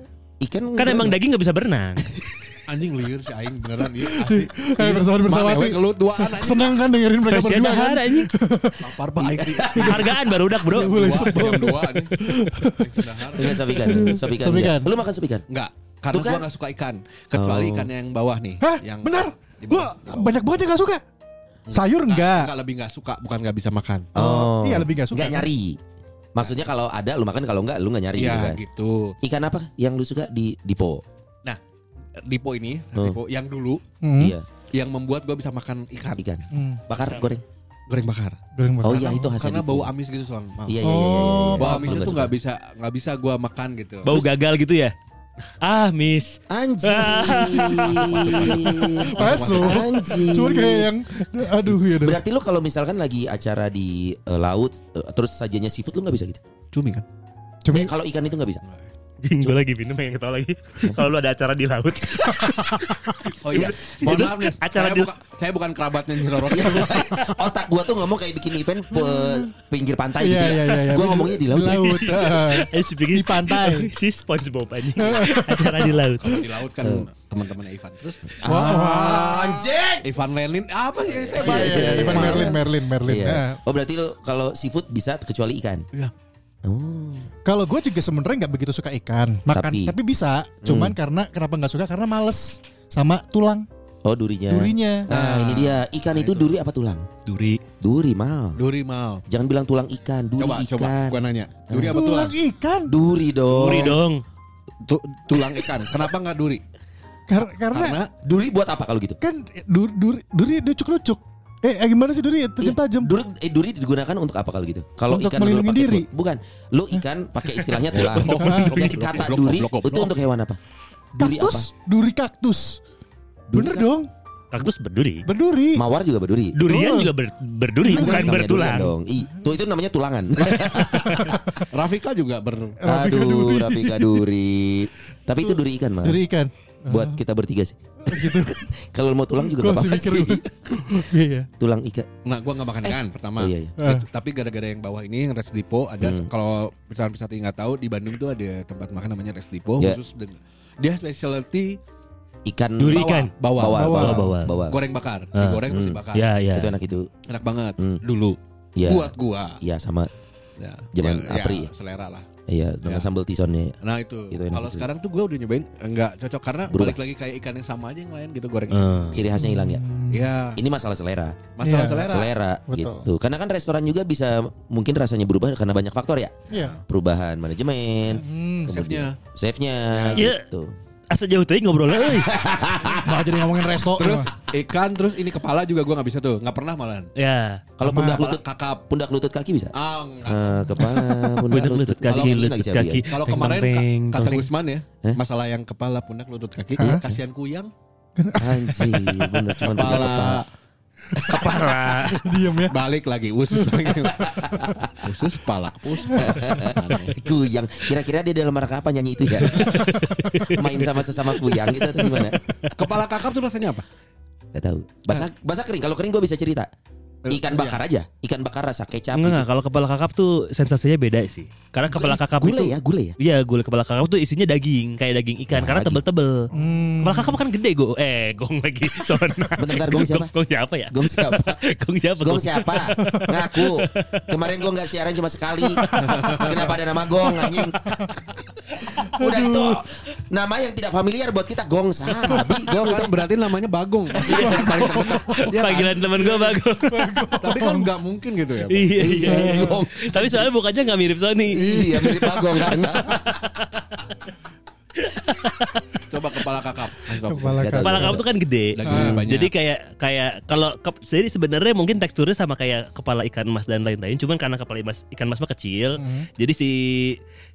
ikan kan emang berenang. daging nggak bisa berenang. Anjing liur si aing beneran iya. ieu asli. Eh, bersama- bersama Manewe ke hati. ya, lu dua anak. Senang kan dengerin mereka Kasihan berdua kan? dahar anjing. Lapar ba aing. Hargaan baru udah bro. Boleh jam dua nih. Sedahar. Enggak, sop ikan. Sop ikan. Sop enggak. ikan. iya. Lu makan sop ikan? Enggak, karena Tuh kan? gua enggak suka ikan, kecuali Oh. ikan yang bawah nih, Hah? yang Benar? di Lu bawah. banyak banget yang gak suka? Sayur Enggak, enggak? enggak lebih enggak suka, bukan enggak bisa makan. Oh. Iya, lebih nggak suka. Nggak nyari. Maksudnya kalau ada lu makan kalau enggak lu enggak nyari Iya gitu kan. gitu. Ikan apa yang lu suka di di po? Nah, Dipo ini, Oh. Dipo yang dulu Hmm. Iya, yang membuat gua bisa makan ikan, ikan. Hmm. Bakar goreng. goreng bakar. Goreng bakar. Oh iya itu hasil. Karena di bau po. amis gitu soal. Maaf. Iya iya iya. Oh. Bau amis Lu itu nggak enggak bisa enggak bisa gua makan gitu. Bau gagal gitu ya. Ah miss. Anjir. Masuk. Iya. Anjir. Cuman kayak yang aduh ya. udah. Berarti lu kalau misalkan lagi acara di eh, laut eh, terus sajiannya seafood lu nggak bisa gitu. Cumi kan? Eh, kalau ikan itu nggak bisa. Jing gue lagi minum pengen ketawa lagi. Kalau lu ada acara di laut. Oh iya. Mohon Jadi, maaf nih. acara saya, di- buka- saya bukan kerabatnya Nyi Roro. Iya, Otak gua tuh ngomong kayak bikin event pe- pinggir pantai gitu Iya ya. iya iya. iya. Gua ngomongnya di laut. ya. Di laut. Ah. Eh, heeh. si pikir- Di pantai. si SpongeBob anjing. acara di laut. Kalau di laut kan teman-teman Ivan. Terus Wah, anjing. Ivan Merlin apa sih saya Iya, balik. iya, iya. Ivan Merlin Merlin Merlin. Iya. Nah, Oh berarti lu kalau seafood bisa kecuali ikan. Iya. Oh. Kalau gue juga sebenarnya nggak begitu suka ikan makan, Tapi- tapi, bisa. Cuman karena kenapa nggak suka? Karena males sama tulang Oh durinya. durinya. Nah ini dia ikan itu duri apa tulang? Duri. Duri mal. Duri mal. Jangan bilang tulang ikan, duri Coba, ikan. coba. Gua nanya. Duri apa tulang, tulang? ikan. Duri dong. Duri dong. Tu- tulang ikan. Kenapa nggak duri? Kar- karena Karena Duri buat apa kalau gitu? kan duri duri duri nucuk-nucuk. Eh, eh, gimana sih duri? Tajam tajam. Duri, eh, duri digunakan untuk apa kalau gitu? Kalau Untuk ikan lu melindungi pakai diri. tulang- bukan, lu ikan pakai Iya, istilahnya tulang. Jadi kata Goblok, duri goblok, itu goblok. untuk hewan apa? Duri apa? Kaktus, duri kaktus. Bener dong, Kaktus berduri. berduri. Mawar juga berduri. Durian juga ber- berduri, bukan Itu namanya bertulang. durian dong. I- Itu itu namanya tulangan. Rafika juga ber Rafika Aduh, duri. Rafika duri. Tapi itu duri ikan, Mas. Duri ikan. Buat kita bertiga sih. Kalau mau tulang juga Gue gak masih apa-apa mikir sih. dulu. Iya, iya. Tulang ikan. Nah, gua nggak makan ikan pertama. Oh, iya, Hmm. iya. Eh, Tapi gara-gara yang bawah ini yang Rest Depot ada kalau perusahaan-perusahaan yang nggak tahu di Bandung tuh ada tempat makan namanya Rest Depot Ya. khusus dengan dia specialty Ikan Duri Bawal. ikan. Bawal. bawal, Bawal, bawal, bawal. bawal. goreng bakar, Ah, digoreng terus hmm. dibakar. Ya, ya. Itu enak itu. Enak banget Hmm. dulu. Iya. Buat gua. Iya sama Ya. Zaman Ya, ya, Apri ya? selera lah. Iya sama Ya. sambal tisonnya Nah itu. Itu enak Kalau itu. sekarang tuh gua udah nyobain enggak cocok karena Berubah. balik lagi kayak ikan yang sama aja yang lain gitu goreng. Eh, Ciri khasnya hilang ya Iya. Ini masalah selera Masalah Iya. selera. Selera Betul. gitu Karena kan restoran juga bisa Mungkin rasanya berubah karena banyak faktor ya Iya. Perubahan manajemen Hmm, kemudian Chefnya Iya. gitu Asa jauh tadi eh. ngobrolnya, euy. malah jadi ngomongin resto. Terus ikan terus ini kepala juga gua nggak bisa tuh, nggak pernah malahan. Ya. Kalau pundak Kepala lutut kakap. Pundak lutut kaki bisa Ah, enggak. Eh, Kepala Pundak lutut kaki, Kalau mungkin lutut lagi siapa kaki. ya? Kalau Teng, kemarin teng, ka- teng, kata teng. Gusman ya, Hah? masalah yang kepala, pundak, lutut, kaki, kasihan kuyang, Anjir bener cuma tiga kepala kepala, Diam ya. balik lagi usus lagi. usus pala, usus pala. Aneh. Kuyang Kira-kira dia dalam rangka apa nyanyi itu ya Main sama sesama kuyang gitu atau gimana Kepala kakap tuh rasanya apa? Gak tahu. Basah Nah. basah kering. Kalau kering gue bisa cerita. Ikan bakar aja. Ikan bakar rasa kecap. Enggak, enggak, kalau kepala kakap tuh sensasinya beda sih. Karena kepala kakap itu Gule ya, gule ya. Iya, gulai kepala kakap tuh isinya daging, kayak daging ikan Wah, karena lagi. tebel-tebel. Hmm. Kepala kakap kan gede, go. Eh, gong lagi. Sona. Bentar, gong siapa? Gong siapa ya? Gong siapa? gong siapa? Gong siapa? Ngaku. Kemarin gue nggak siaran cuma sekali. Kenapa ada nama Gong anjing? Udah itu nama yang tidak familiar buat kita Gong sahabi. Gua Gong kan berarti namanya Bagong. Maksudnya yang paling terdekat. Iya kan? Panggilan teman gue bagus. Tapi kan nggak mungkin gitu ya. Bang. iya, iya. iya. Gong. Tapi soalnya bukannya nggak mirip Sony. Iya mirip Pak Gong kan. Coba kepala kakap. Kasih tau. Kepala Gak tahu. iya. Kepala kakap tuh kan gede. Dagingnya banyak. Jadi kayak kayak kalau ke- jadi sebenarnya mungkin teksturnya sama kayak kepala ikan mas dan lain-lain, cuman karena kepala mas, ikan mas mah kecil, jadi si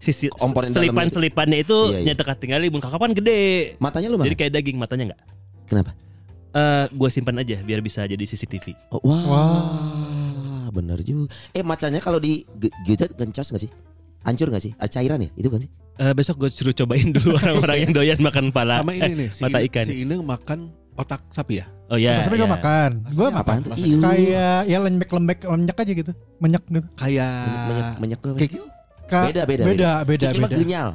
si, si- Komponen dalamnya itu. selipan-selipannya itu Iya, iya. nyetek tinggal ibun kakap kan gede. Matanya lu Jadi mana? kayak daging matanya nggak? Kenapa? Eh, gue simpan aja biar bisa jadi CCTV. Oh, wah. Bener juga. Eh matanya kalau di ge- gitu gencos nggak sih? Hancur nggak sih? Ah, Cairan ya? Itu kan sih? Eh, besok gue suruh cobain dulu orang-orang yang doyan makan pala. Sama ini nih, si, mata ikan. si Ine makan otak sapi ya? oh ya. Tapi gue ya. makan. Gue Rasanya makan. Apaan tuh? Rasanya Iu. Kayak ya lembek-lembek minyak aja gitu. Minyak gitu. Banyak Kayak banyak banyak- kikil. Ka- Beda, beda, beda beda Kiki mah beda. genyal.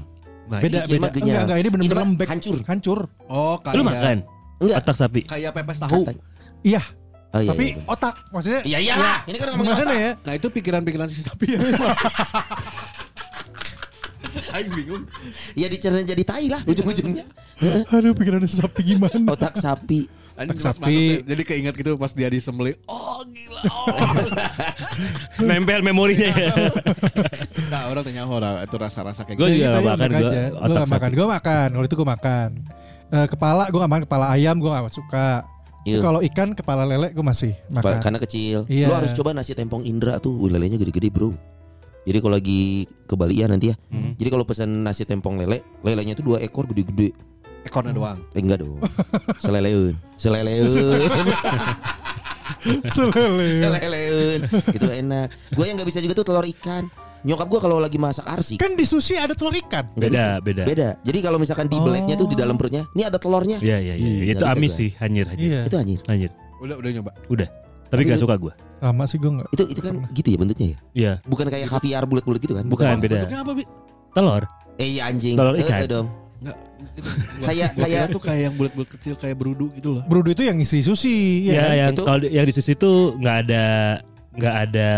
Nah, Beda Kiki beda. mah genyal. Enggak enggak ini bener-bener Ini mah lembek. hancur. Hancur. Oh, kayak Lu makan? Enggak. Otak sapi. kayak pepes tahu. Kata- Iya. Oh, iya, Tapi iya, iya. otak maksudnya. Ya iyalah, ini kan ngomongin Gimana otak. ya? Nah, itu pikiran-pikiran si sapi ya. Aing bingung. Ya dicerna jadi tai lah ujung-ujungnya. Aduh pikiran sapi gimana? Otak sapi. Anjing Otak pas sapi. masuk, jadi keinget gitu pas dia disembelih. Oh gila. Oh. Nempel memorinya ya. nah, orang tanya orang itu rasa-rasa kayak Gue gitu. juga Ya, kita nggak aja makan. enak Gue aja. Gua otak nggak makan. sapi. Gue makan. Waktu itu gue makan. Eh, kepala gue gak makan. Kepala ayam gue gak suka. Tapi Iya. Kalau ikan kepala lele gue masih Ba- kan- makan. Karena kecil. Iya. Lu harus coba nasi tempong Indra tuh. Wih, lelenya gede-gede, Bro. Jadi kalau lagi ke Bali ya nanti ya. Hmm. Jadi kalau pesan nasi tempong lele, lelenya tuh dua ekor gede-gede. Ekornya doang. Eh, enggak dong. Seleleun. Seleleun. Selele. Seleleun. Itu enak. Gue yang nggak bisa juga tuh telur ikan. Nyokap gue kalau lagi masak arsi Kan di sushi ada telur ikan. Beda, Nggak bisa. beda. Oh. Beda. Jadi kalau misalkan di beleknya tuh di dalam perutnya, ini ada telurnya. Iya, iya, iya. Ih, Itu nggak bisa amis gua. sih, hanyir, hanyir. Iya. Itu anjir. Hanyir. Udah udah nyoba. Udah. Tapi gak suka gue. Sama sih gue gak. Itu itu kan gitu ya bentuknya ya. Iya. Bukan kayak kaviar bulat-bulat gitu kan? Bukan beda. Bentuknya apa, Bi? Telur. Eh iya anjing. Telur Eh, ikan. eh, dong. Enggak. Kayak- kayak kayak- tuh kayak yang bulat-bulat kecil kayak berudu gitu loh. Brudo itu yang isi Ya, sushi. Ya, kan? yang Itu- kalau di- yang di sushi itu nggak ada nggak ada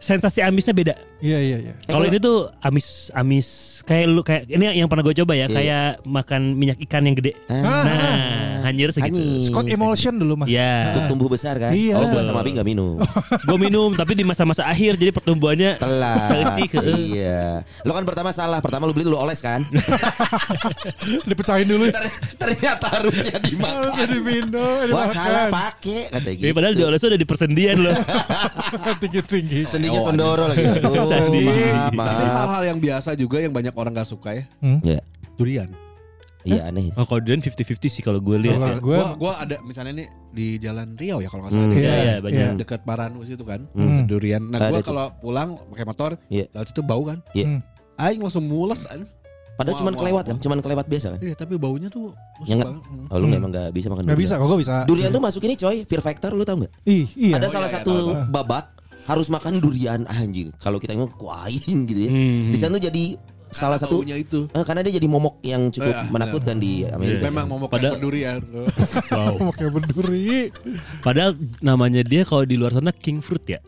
sensasi amisnya beda. Iya iya iya. Kalau ini tuh amis amis kayak lu kayak ini yang pernah gue coba ya, kayak makan minyak ikan yang gede. Nah, anjir segitu. Anjing. Ah, Scott Emulsion dulu mah. Ya. Untuk tumbuh besar kan? Iya. Oh, gua sama Abi nggak minum. gue minum tapi di masa-masa akhir jadi pertumbuhannya Telat. Cantik, heeh. iya. Lo kan pertama salah. Pertama lu beli lu oles kan? Dipecahin dulu. Ah, ya. Ter- Ternyata harusnya Harusnya dimakan. diminum. Wah salah dimakan. pakai kata gitu. Ya, padahal di Oleso udah di persendian loh. Tinggi-tinggi. Oh, Sendinya Sondoro lagi. Aduh, Sendi. maaf, Tapi maaf. hal-hal yang biasa juga yang banyak orang gak suka ya. Hmm? Iya, Durian. iya aneh. oh, kalau durian 50-50 sih kalau gue Kalau Eh, lihat. Gua- gue gua ada misalnya nih di Jalan Riau ya kalau nggak salah. Hmm. di Iya, iya, banyak. Yang dekat Paranu situ kan. Hmm. Durian. Nah, Ada gua tuh. kalau pulang pakai motor, Iya. laut itu bau kan. Iya. Hmm. Aing langsung mules kan. Padahal Wah, cuman wah, kelewat kan, wah. cuman kelewat biasa kan. Iya, tapi baunya tuh busuk Nyengat. banget. Hmm. Oh, lu emang gak bisa makan nggak bisa. Kok gue bisa. Durian tuh masuk ini coy, fear factor lu tau gak? Ih, iya. Ada Oh, salah iya, iya, satu tahu, babak harus makan durian Ah, anjing. Kalau kita ngomong kuaing gitu ya. Hmm. Di sana tuh jadi salah satu Baunya itu. Eh, karena dia jadi momok yang cukup Eh, ah, iya. menakutkan di Amerika. Memang mau Padahal- makan durian. Wow. Pakai berduri. Padahal namanya dia kalau di luar sana king fruit ya.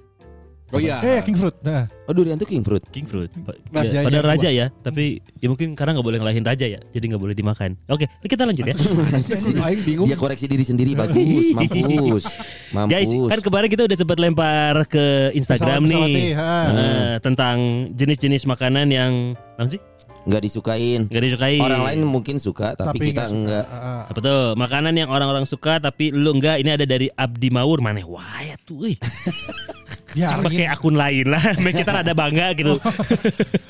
Oh iya. Eh, king fruit. Nah, Oh durian tuh king fruit. King fruit. Pa- Raja ya, padahal yang raja ya, tapi ya mungkin karena nggak boleh ngelahin raja ya, jadi nggak boleh dimakan. Oke, kita lanjut ya. Eh, Aing bingung. Iya. Dia koreksi diri sendiri bagus, mampus, mampus. Guys, kan kemarin kita udah sempat lempar ke Instagram Pesawat- pesawat nih nih, ha. eh, tentang jenis-jenis makanan yang apa sih nggak disukain. nggak disukai. Orang lain mungkin suka, tapi, tapi kita nggak suka. enggak. Ah, ah. Apa tuh? Makanan yang orang-orang suka tapi lu enggak. Ini ada dari Abdi Maur mana? Wah, ya tuh. ih. Ya, pakai akun lain lah. Biar kita rada bangga gitu. Oh.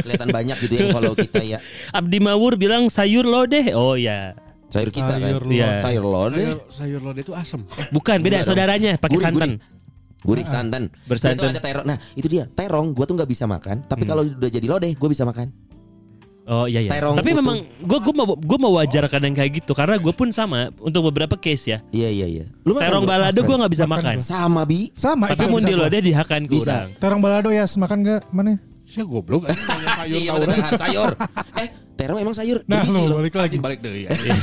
Kelihatan banyak gitu ya kalau kita ya Abdi Mawur bilang sayur lo deh. Oh ya. sayur kita kan. Sayur lodeh. Iya. Sayur lodeh, Sayur, sayur lodeh itu asem. Eh, Bukan beda Enggak dong. saudaranya pakai Gurih, santan. gurih santan. Ah, Bersantan. Hmm. Itu ada terong. Nah, itu dia. Terong gua tuh nggak bisa makan, tapi kalau udah jadi lodeh gua bisa makan. Oh iya iya. Terong Tapi utuh. memang gua gua mau gua mau wajarkan yang kayak gitu karena gua pun sama untuk beberapa case ya. Iya, iya, iya. Lu makan Terong nggak? balado gua nggak bisa Makan makan. sama bi. Sama Tapi itu mau bisa di gua. lodeh dihakan ke Bisa. orang. Terong balado ya, semakan gak mana? Saya goblok. Aing nanya Sayur Iya, tawuran. beneran, sayur. Eh, terong emang sayur. Nah, Berbiji lo loh. balik lagi. Anjing balik deh ya. Iya.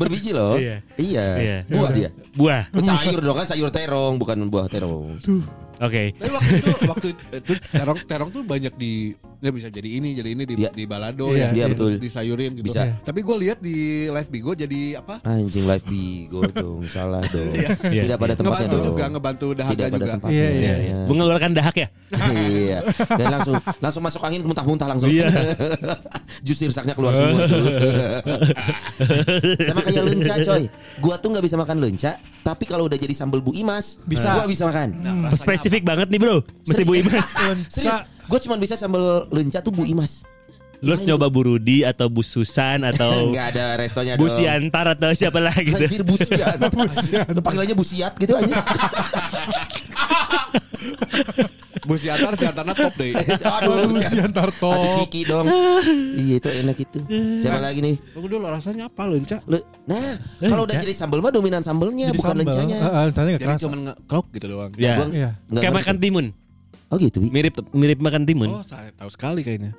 Berbiji loh. Iya. Iya. Iya. Buah dia. Buah. Sayur dong kan sayur terong bukan buah terong. Oke. Tapi waktu itu waktu itu terong terong tuh banyak di ya bisa jadi ini jadi ini di, Iya. di balado ya Iya, iya, betul. disayurin gitu. Bisa. Tapi gue lihat di live bigo jadi apa? Anjing live bigo dong, salah dong. Iya, Tidak pada tempatnya ngebantu dong. juga ngebantu dahaga Tidak pada juga. tempatnya. Iya, Iya, iya. Mengeluarkan dahak ya. Iya. Dan langsung langsung masuk angin muntah-muntah langsung. Iya. Jus sirsaknya keluar semua. tuh. Sama kayak lenca coy. Gua tuh nggak bisa makan lenca, tapi kalau udah jadi sambal Bu Imas, Bisa. gua bisa makan. Nah, Spesifik banget nih bro. Mesti Bu Imas. Serius, gua cuma bisa sambal lenca tuh Bu Imas. Lu harus nyoba Burudi atau Bu Susan atau Enggak ada restonya Bu dong. Siantar atau siapa lah Oh. gitu. Anjir busiat. busiat. Panggilannya busiat gitu aja. Bu Siantar Siantarnya top deh. Aduh, busiat. Lucian Aduh Tarto. ciki dong. Iya itu enak itu. Coba lagi nih. Lu dulu rasanya apa lenca? Lu- Nah, kalau udah Lenca. jadi sambal mah dominan sambalnya Jadi bukan sambal. lencanya. Ah, ah, Lencanya gak Jadi kerasa. cuman ngekrok gitu doang. Ya. Gua- Iya. nggak Kayak ngerti. makan timun. Oh gitu, Bi. Mirip mirip makan timun. Oh, saya tahu sekali kayaknya.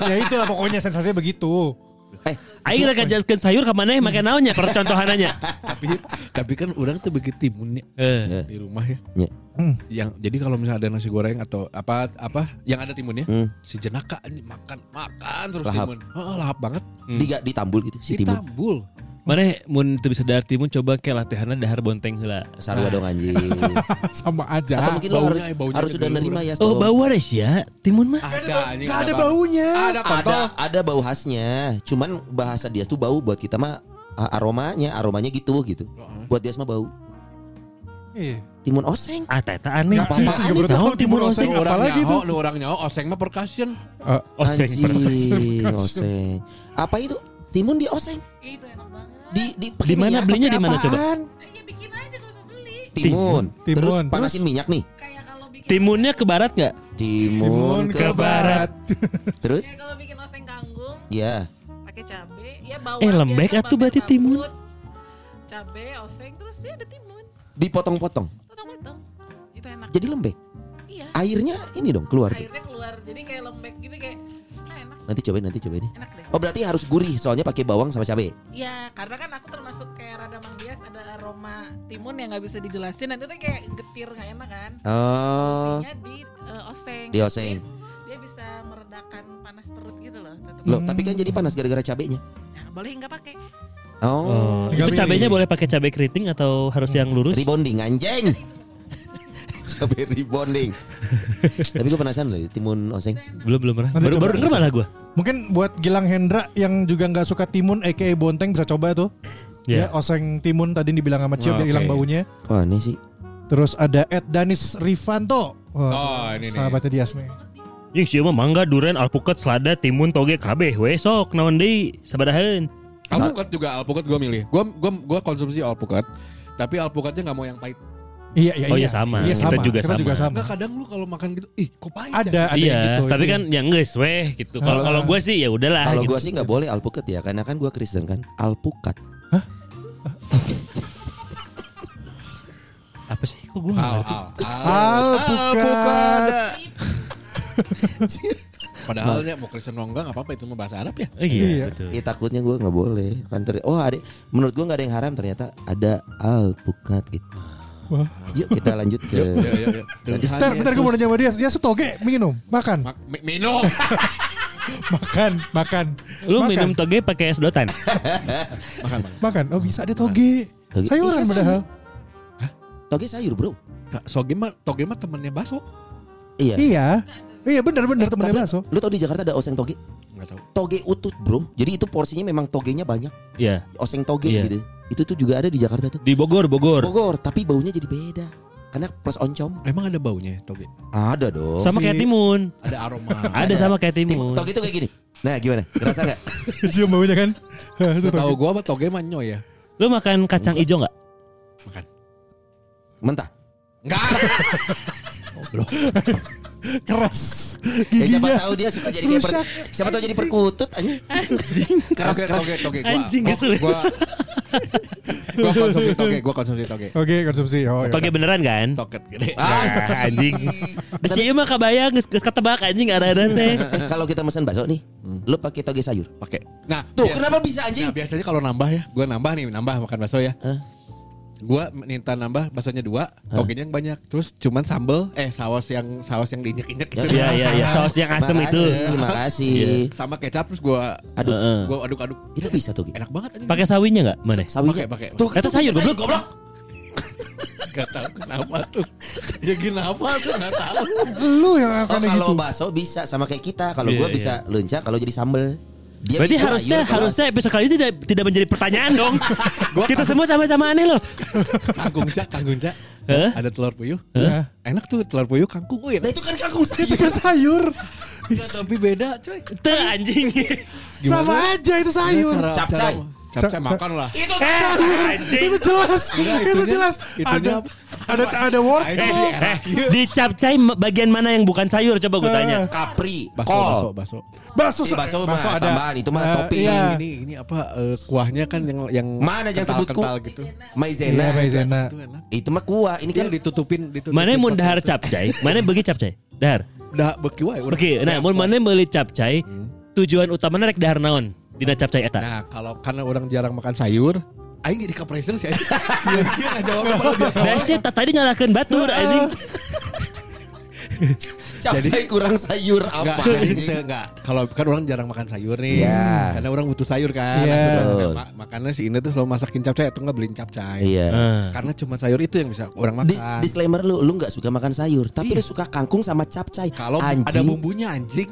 ya itu lah pokoknya sensasinya begitu. Eh, Ayo kita jelaskan sayur kemana yang makan naonnya percontohanannya. tapi tapi kan orang tuh begitu timun ya Eh, di rumah ya. Iya. Hmm. Yang jadi kalau misalnya ada nasi goreng atau apa apa yang ada timunnya, Hmm. si jenaka anjing, makan makan terus Lahap. timun. Heeh, lahap banget. diga ditambul gitu si timun. Ditambul. Mana ya? mun teu bisa dahar timun coba ke latihannya dahar bonteng heula. Sarua dong anjing. Sama aja. Atau mungkin lo harus baunya- baunya harus ke sudah dulu. nerima ya. Oh, tolong. bau res ya timun mah. Ada anjing. Gak Kan ada bau. baunya. Ada kontol. Ada ada bau khasnya. Cuman bahasa dia tuh bau buat kita mah a- aromanya, aromanya gitu gitu. Buat dia mah bau. Iya. Timun oseng. Ah, teh teh aneh. Nggak apa-apa, Aneh, juga baru tahu tahu timun oseng. Orang Apalagi nyaho, tuh? lu orang nyaho, oseng mah percussion. Eh, Oseng. Anjing, oseng. Apa itu? Timun di oseng. Itu enak banget. Di di pakai Di mana minyak, belinya pakai di mana coba? apaan? Ya bikin aja gak usah beli. Timun. Timun. Terus Terus? panasin minyak nih. Kayak kalau bikin Timunnya ke barat nggak? Timun ke barat. Terus? Kayak kalau bikin oseng kangkung Ya. pakai cabe, ya bawang. Eh, lembek biasa atuh berarti pakai timun. rambut. Cabe, oseng terus ya ada timun. Dipotong-potong. Potong-potong. Itu enak. Jadi lembek. Iya. Airnya ini dong keluar. tuh. Airnya keluar. Jadi kayak lembek gitu kayak ah, enak. Nanti cobain, nanti cobain deh. Enak deh. Oh berarti harus gurih soalnya pakai bawang sama cabai. Ya, karena kan aku termasuk kayak rada manggias ada aroma timun yang nggak bisa dijelasin. Nanti tuh kayak getir nggak enak kan? Oh. adanya di eh, oseng. Di oseng. Terus Dia bisa meredakan panas perut gitu loh. tetep. Loh, tapi kan jadi panas gara-gara cabenya. Nah, boleh nggak pakai? Oh. Itu Nggak cabenya milih. boleh pakai cabai keriting atau harus yang lurus? Rebonding anjing. Cabe rebonding. tapi gue penasaran loh, timun oseng. Belum belum pernah. Nanti Baru coba. baru denger malah gue. Mungkin buat Gilang Hendra yang juga nggak suka timun aka bonteng bisa coba tuh. Ya. Ya, oseng timun tadi dibilang sama Oh, Cio biar hilang oke. baunya. Wah, ini sih. Terus ada Ed Danis Rifanto. Oh, ini nih. sahabatnya Dias nih. Yang sih mah mangga, duren, alpukat, selada, timun, toge, kabeh, we sok, naon deui, sabarahan. Alpukat juga alpukat gue milih. Gue gua gua konsumsi alpukat. Tapi alpukatnya nggak mau yang pahit. Iya, iya, Oh, iya, sama. Iya, Kita sama. juga Kita juga sama. sama. Enggak kadang lu kalau makan gitu, ih kok pahit. Nah. Ada, ada iya, yang gitu. tapi itu. kan yang geus weh gitu. Kalau Kalau- kalau gue sih ya udahlah. Kalau gitu. gue sih nggak boleh alpukat ya, karena kan gue Kristen kan. Alpukat. apa sih? Kok gue Al, al, al. alpukat. Padahal Nah. ya mau Kristen mau enggak nggak apa-apa itu mah bahasa Arab ya. iya, Iya. betul. Ya takutnya gue nggak boleh. Kan ter- oh ada, menurut gue nggak ada yang haram ternyata ada alpukat gitu. Wah. Yuk kita lanjut ke. Ya, ya, ya. Tuhan Bentar, bentar gue mau Yesus. nanya sama Dias. Dias toge minum, makan, Mak- mi- Minum. makan, makan. Lu Makan. minum toge pakai es dotan. Makan, makan. makan. Oh bisa dia toge. Toge. Sayuran Iya, padahal. Toge sayur bro. Kak, Soge mah toge mah temennya baso. Iya. Iya. Iya benar benar temennya Tapi, bakso. Lu tau di Jakarta ada oseng toge? Enggak tahu. Toge utut bro. Jadi itu porsinya memang togenya banyak. Iya. Oseng toge Iya. gitu. Itu tuh juga ada di Jakarta tuh. Di Bogor, Bogor. Bogor, tapi baunya jadi beda. Karena plus oncom. Emang ada baunya toge? Ada dong. Sama Si- kayak timun. Ada aroma. Ada sama kayak Tim- timun. toge itu kayak gini. Nah gimana? Ngerasa nggak? Cium baunya kan. Hah, itu toge. Tahu gua apa toge mah nyoy ya. Lu makan kacang ijo nggak? Mentah. Enggak. Keras. Ya, siapa Giginya. tahu dia suka jadi kayak per- Iya. Rusak. siapa tahu jadi perkutut anjing. Keras Toge, keras. toge, toge gua. Anjing, Gua- kesel. Gua gua konsumsi toge, gua konsumsi toge. Oke, konsumsi. Oh, iya. Toge beneran kan? Toket gede. Nah, Ah, anjing. Di sini mah kabayang geus geus ketebak anjing arah-arah teh. Eh, kalau kita pesan bakso nih, lu pakai toge sayur. Pakai. Nah, Tuh, biar- kenapa bisa Nah, anjing? biasanya kalau nambah ya, gua nambah nih, nambah makan bakso ya. Hah? Gua minta nambah baksonya dua, togenya yang banyak. Terus cuman sambel, eh saus yang saus yang diinjek-injek gitu. Iya, iya, iya. Saus yang asem itu. Iya. Makasih, makasih. Sama kecap terus gua Aduh, Heeh. gua aduk-aduk. itu bisa toge. Enak banget anjing. Pakai sawinya nggak? Mana? Sawinya. Pakai, pakai. Tuh, Kata sayur, goblok. goblok. Gak tahu kenapa tuh. Ya kenapa tuh gak tahu. Lu yang Oh akan kalau gitu. bakso bisa sama kayak kita. Kalau Iya, gua iya. bisa leunca, kalau jadi sambel. Ya, gitu Dia Berarti bisa harusnya sayur, kalau harusnya episode kali ini tidak tidak menjadi pertanyaan dong. Kita semua sama-sama aneh loh. Kangkung cak, kangkung cak. Hah? Ada telur puyuh. Iya. Hah? Enak tuh telur puyuh kangkung. Oh, Nah enak. itu kan kangkung Itu sayur. kan sayur. Tapi beda coy. Teh anjing. Iya, Sama aja itu sayur. Cara- Capcay. cara- Capcay makan lah. Itu Eh, sayur. anjing. Itu jelas. Enggak, Itu itunya- jelas. itunya Ada apa? ada ada Eh, wortel. iya. eh, di capcay ma- bagian mana yang bukan sayur coba gue Ah, tanya. Capri, Bakso, bakso, kol. bakso. Bakso, Ih, Iya, bakso mah ada. tambahan, itu mah Eh, topping. iya. Ini ini apa eh, kuahnya kan yang yang Mana yang sebut ku? kental gitu. Iya, Maizena. Maizena. Itu enak. Itu mah kuah. Ini Kan kan ditutupin ditutupin. Mana yang mau pakai dahar itu. capcay? Mana yang bagi capcay? Dahar. Dah beki wae. urang. Oke, nah mun mana yang beli capcay? Tujuan utamanya rek dahar naon? Dina capcay eta. Hmm. Nah, kalau karena orang jarang makan sayur, aing jadi kepreser sih. anjing. Iya, Dia nggak jawab apa dia. Dasya tadi nyalakan batur Ah. anjing. capcay kurang sayur Enggak, apa? gitu. enggak, enggak. Kalau kan orang jarang makan sayur nih. Gitu, Iya. Karena orang butuh sayur kan. Iya. Maksudnya, ma- Makanya si Ine tuh selalu masakin capcay atau enggak beliin capcay. Iya. Ah. Karena cuma sayur itu yang bisa orang makan. Dis- disclaimer lu, lu nggak suka makan sayur, tapi lu suka kangkung sama capcay. Kalau anjing, ada bumbunya anjing,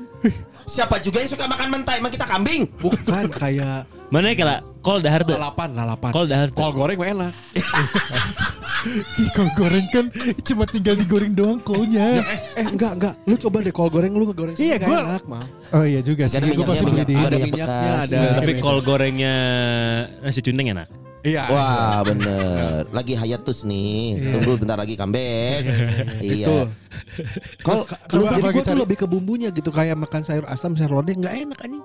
siapa juga yang suka makan mentai? Emang kita kambing? bukan kayak Mana kala kol dahar tuh. lalapan, lalapan. Kol dahar. tuh. Kol goreng mah enak. Ih, Kol goreng kan cuma tinggal digoreng doang Ya. kolnya. Eh, eh enggak, enggak. Lu coba deh kol goreng lu ngegoreng Iya, sendiri, gua- nggak enak, mah. Oh iya juga sih. Gak ada Gue pasti beli minyaknya, di. minyak. Ada Ada minyaknya, bekas. ada. Tapi kol gorengnya nasi cuning enak. Iya. Wah bener, lagi hayatus nih. Tunggu bentar lagi comeback. Betul. iya. Kalau coba kalau jadi lagi gue tuh cari. lebih ke bumbunya gitu kayak makan sayur asam, sayur lodeh enggak enak anjing.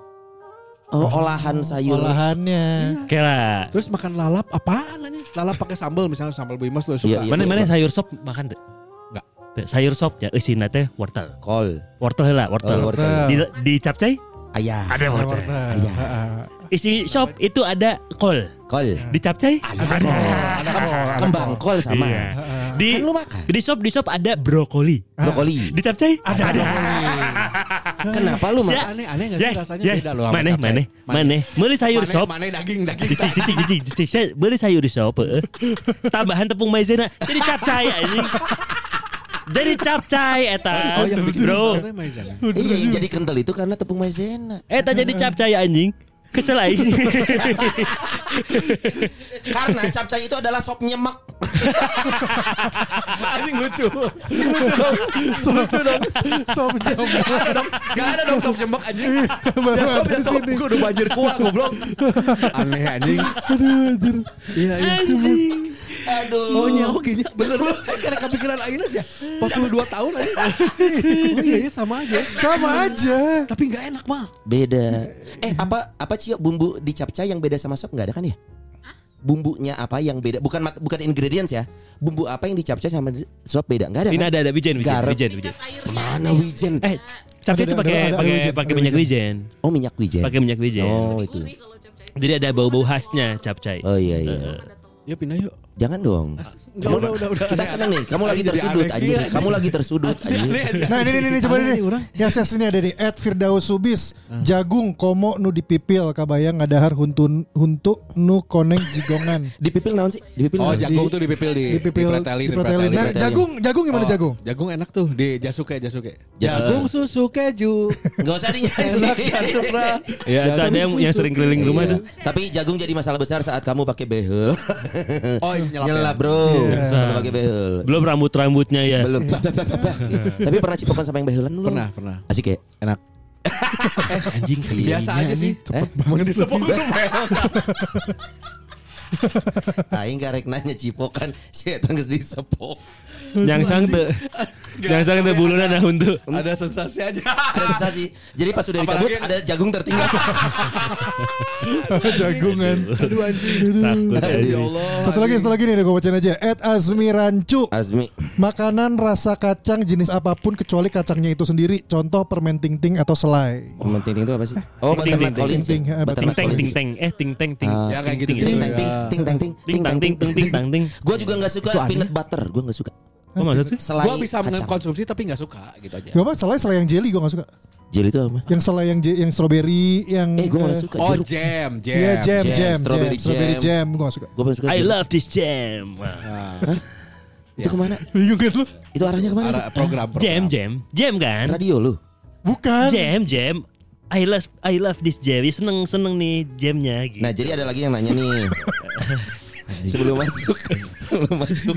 Oh, olahan sayur. Olahannya. Kela. Terus makan lalap apaan anjing? Lalap pakai sambal misalnya sambal buimas lu Iya, suka. iya. Mana mana sayur sop makan tuh? Nggak. Sayur sop ya eusina teh wortel. Kol, Wortel lah, Oh, wortel. wortel. Di di capcay ayah, ada Ada wortel. wortel. Iya. Isi shop itu ada kol. kol, Di capcay ayah, kol. kembang kol sama. Iya. Di Kan lu makan. di shop di shop ada brokoli. Brokoli. Di capcay ada. ada. Kenapa lu Sia. makan? Aneh aneh nggak sih Yes, rasanya yes. beda loh. sama Maneh, capcay. maneh, maneh. Beli sayur Maneh- shop. Maneh daging daging. Cicik, cicik, cicik, cicik. Saya beli sayur shop. eh. Tambahan tepung maizena jadi capcay anjing. Jadi capcay eta. Oh, iya, Bro. Maizena. Iya, yang jadi kental itu karena tepung maizena. Eta Eh, jadi capcay anjing. Kesel aing. Karena capcay itu adalah sop nyemek. Anjing lucu. Lucu dong. Sop jambak. Gak ada dong, gak ada dong sop jembek anjing. Baru Ya, sop, ada ya, di sop. sini. Gua udah banjir kuah goblok. Aneh anjing. Aduh anjir. Anjing. Aduh. Oh iya, oh gini, bener Karena kepikiran Aina sih ya. Pas lu 2 tahun Aina. Oh iya, iya sama aja. Sama aja. Tapi gak enak mal. Beda. Eh apa apa sih bumbu di capcay yang beda sama sop nggak ada kan ya? Bumbunya apa yang beda? Bukan mat- bukan ingredients ya. Bumbu apa yang di capcay sama di sop beda? Nggak ada. Ini Kan? ada ada wijen wijen Garam. wijen wijen. Minyak airnya Mana ada. wijen? Eh, capcay Ada- itu ada- ada- pakai ada pakai wijen, pakai ada minyak wijen. wijen. Oh minyak wijen. Pakai minyak wijen. Oh itu. Gurih kalau capcay. Jadi ada bau-bau khasnya capcay. Oh iya iya. Ya pindah yuk. Jangan dong. Enggak, Ah, udah, udah, udah. Kita seneng nih. Kamu lagi Jadi tersudut aneh. anjing. Iya. Kamu lagi tersudut anjing. Nah ini ini, ini coba ini. Yang seks ini ada di Ed Firdaus Subis. Hmm. Jagung komo nu dipipil kabayang ngadahar huntun huntu nu koneng jigongan. Di pipil naon sih? Di pipil. Oh, naon? jagung tuh dipipil di Dipipil dipretelin, dipretelin. Nah, dipretelin. jagung jagung gimana Oh, jagung? Jagung enak tuh di jasuke jasuke. Eh. Jasuke. Jagung susu keju. Nggak usah dinyanyi. Iya, Ya, itu ada yang yang sering keliling rumah Iya. itu. Tapi jagung jadi masalah besar saat kamu pakai behel. Oh, nyelap. ya. Nyelap bro. Kalau pakai behel. Belum rambut-rambutnya ya. Belum. Iya. Tapi pernah cipokan sama yang behelan lu? Pernah, pernah. Asik ya? Enak. Anjing. ya. Iya. Biasa aja sih. Eh, Cepet Iya banget disebut. Aing karek nanya cipokan, setan geus disepok. Yang sang te. Yang sang te bulunan nah untuk. Ada sensasi aja. Ada sensasi. Jadi pas sudah Apalagi dicabut yang- ada jagung tertinggal. Jagungan. Aduh anjing. Takut Ya anjing. Allah. Satu lagi satu lagi nih gue bacain aja. Ed Azmi Rancu. Azmi. Makanan rasa kacang jenis apapun kecuali kacangnya itu sendiri. Contoh permen ting-ting atau selai. Permen ting itu apa sih? Oh, Ting-ting. butternut collins. ya? Ting-ting, eh, Ting Butternut teng ting collins. teng eh ting teng ting. Ah. Ya, kayak Ting, ting, gitu-gitu. Ting ting. tang ting ting tang ting Ting tang ting ting ting tang ting. Gue juga nggak suka peanut butter, gue nggak suka. Apa maksud sih? Selain Gua bisa kacang. mengkonsumsi tapi nggak suka gitu aja. Gak apa selai selai yang jelly gue gak suka. Jelly itu apa? Yang selai yang je- yang strawberry yang Eh, gue nggak eh, suka Oh, jeruk. jam, jam. Iya jam Jam, jam strawberry jam strawberry jam. jam gue gak suka. Gue paling suka. I jeruk. love this jam. Wah. Itu kemana? Bingung kan lu? Itu arahnya kemana? Ada Ah, program, program. Jam jam jam kan? Radio lu. Bukan. Jam jam. I love I love this jam. Ya, seneng seneng nih jamnya gitu. Nah jadi ada lagi yang nanya nih Sebelum masuk Sebelum masuk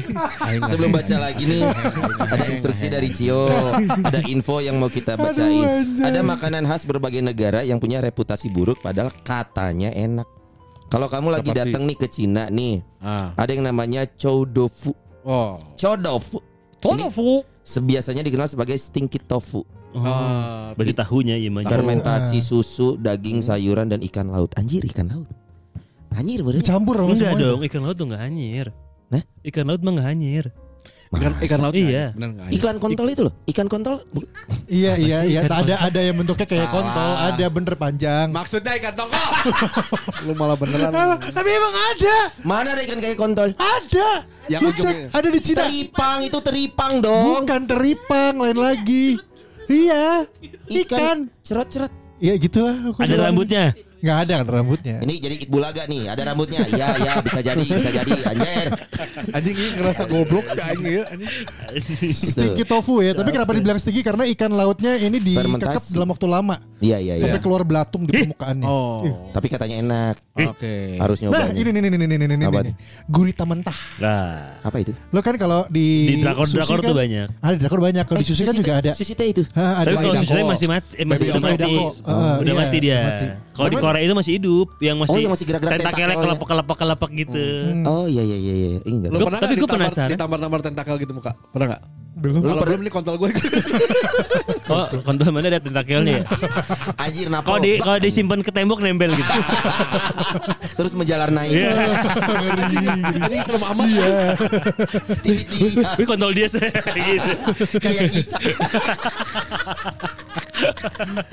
Sebelum baca lagi nih Ada instruksi dari Cio Ada info yang mau kita bacain Ada makanan khas berbagai negara Yang punya reputasi buruk Padahal katanya enak Kalau kamu lagi Seperti? datang nih ke Cina nih Ah. Ada yang namanya chow tofu Oh. Chow tofu Ini Tofu. Sebiasanya dikenal sebagai stinky tofu Ah. Oh, Baju tahunya ya mah. Fermentasi susu, daging, sayuran, dan ikan laut Anjir ikan laut Anjir bener Campur sama Enggak semuanya. dong, ikan laut tuh enggak hanyir. Hah? Ikan laut mah enggak hanyir. ikan ikan laut Iya. nggak ada? bener nggak ada? Iklan kontol itu loh Ikan kontol bu- Iya iya iya. Ada ada yang bentuknya kayak kontol, ada bener panjang. maksudnya ikan tongkol lu malah beneran Ah, Tapi emang ada, Mana ada ikan kayak kontol? ada. Yang Lu ujungnya. cek, ada di Cina. Teripang itu teripang dong. Bukan teripang, lain lagi. Iya, ikan. cerot-cerot. Iya gitulah. aku Ada bilang. rambutnya. Nggak ada ada rambutnya. Ini jadi Iqbal Aga nih, ada rambutnya. Iya, iya bisa jadi, bisa jadi. Anjir. anjing ini ngerasa goblok sih anjing ya anjing Gitu. Sticky tofu ya, tapi kenapa dibilang sticky? Karena ikan lautnya ini dikekep Fermentasi. dalam waktu lama Iya, iya, iya. sampai keluar belatung di permukaannya. oh Ih. Tapi katanya enak. oke Harus nyoba. Nah, ini nih nih nih nih nih nih. Apa nih. nih? Gurita mentah. Nah, Apa itu? Lo kan kalau di Di drakor- sushi drakor kan- tuh banyak. Ada di drakor banyak. Kalau di sushi Eh, kan Sushi juga teh- ada. Sushi teh itu. Hah, ada tapi kalau Waidako. susunya masih mati, eh, masih Baby belum mati. Waidako. Ah, udah iya, mati dia. mati. Kalau di Cuman- Korea itu masih hidup, yang masih, yang masih gerak-gerak tentakelnya tentakel ya. kelepek-kelepek kelepek gitu. Oh iya iya iya iya. Ini enggak. Lu Gua- pernah nggak tapi gua ditampar- penasaran. ditampar-tampar tentakel gitu muka pernah Iya. nggak Belum. kalau belum nih kontol gitu. gue Kok kontol mana ada tentakelnya ya? Anjir napa? Kalau di kalau disimpan ke tembok nempel gitu. Terus menjalar naik. Iya. ini serem amat ya Titik di Wih kontol dia sih. gitu. kayak cicak.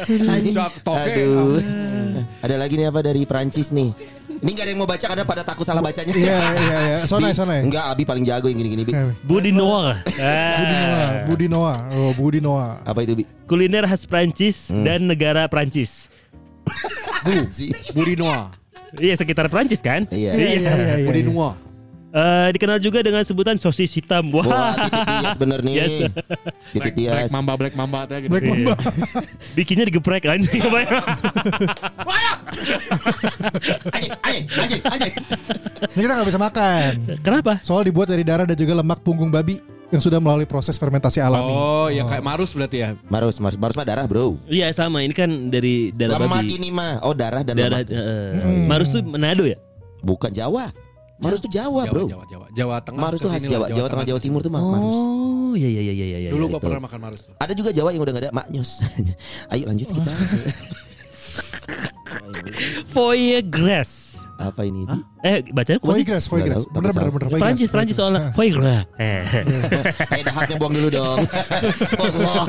Anjing. Cak, toke. Aduh. Ada lagi nih apa dari Prancis nih. Ini gak ada yang mau baca karena pada takut salah bacanya. Iya, iya, iya. Sonai, Bi, sonai. Enggak, Abi paling jago yang gini-gini, Bi. Eh, Budi Noah. Budi Noah, Ah. Eh, Budi Noah, oh, Budi Noah. Apa itu, Bi? Kuliner khas Prancis dan negara Prancis. Anjing. Budi Noah. Iya sekitar Prancis kan? Iya. Budi Noah. Eh, dikenal juga dengan sebutan sosis hitam. Wah. Wah, titik tias bener nih. Yes. Black Titik tias. Mamba, Black Mamba teh gitu. Black Iya. Mamba. Bikinnya digeprek kan? anjing. Anjing, anjing, anjing, anjing. Ini kita nggak bisa makan. Kenapa? Soal dibuat dari darah dan juga lemak punggung babi yang sudah melalui proses fermentasi alami. Oh, ya kayak Marus berarti ya. Marus, Marus, Marus mah darah, Bro. Iya sama ini kan dari darah Lemak babi. ini mah. Oh, darah dan Darah lemak. eh, Marus tuh Manado ya? Bukan Jawa. Marus tuh Jawa, Jawa, Bro. Jawa, Jawa, Jawa Tengah. Iya, Marus tuh khas kesini lah, Jawa, Jawa Tengah, Jawa Timur tuh mah Marus. Oh, iya iya iya iya iya. Dulu iya. gua gitu. pernah makan Marus. Ada juga Jawa yang udah gak ada maknyos. Ayo lanjut kita. foie grass. Apa ini? Bi? Eh, bacanya apa sih? Foie grass, foie Nggak grass. tahu, Bener, takut bener, salah. bener. foie Prancis grass, foie Nah. Prancis grass. soalnya foie gras. Eh. Eh, dahaknya buang dulu dong. Allah.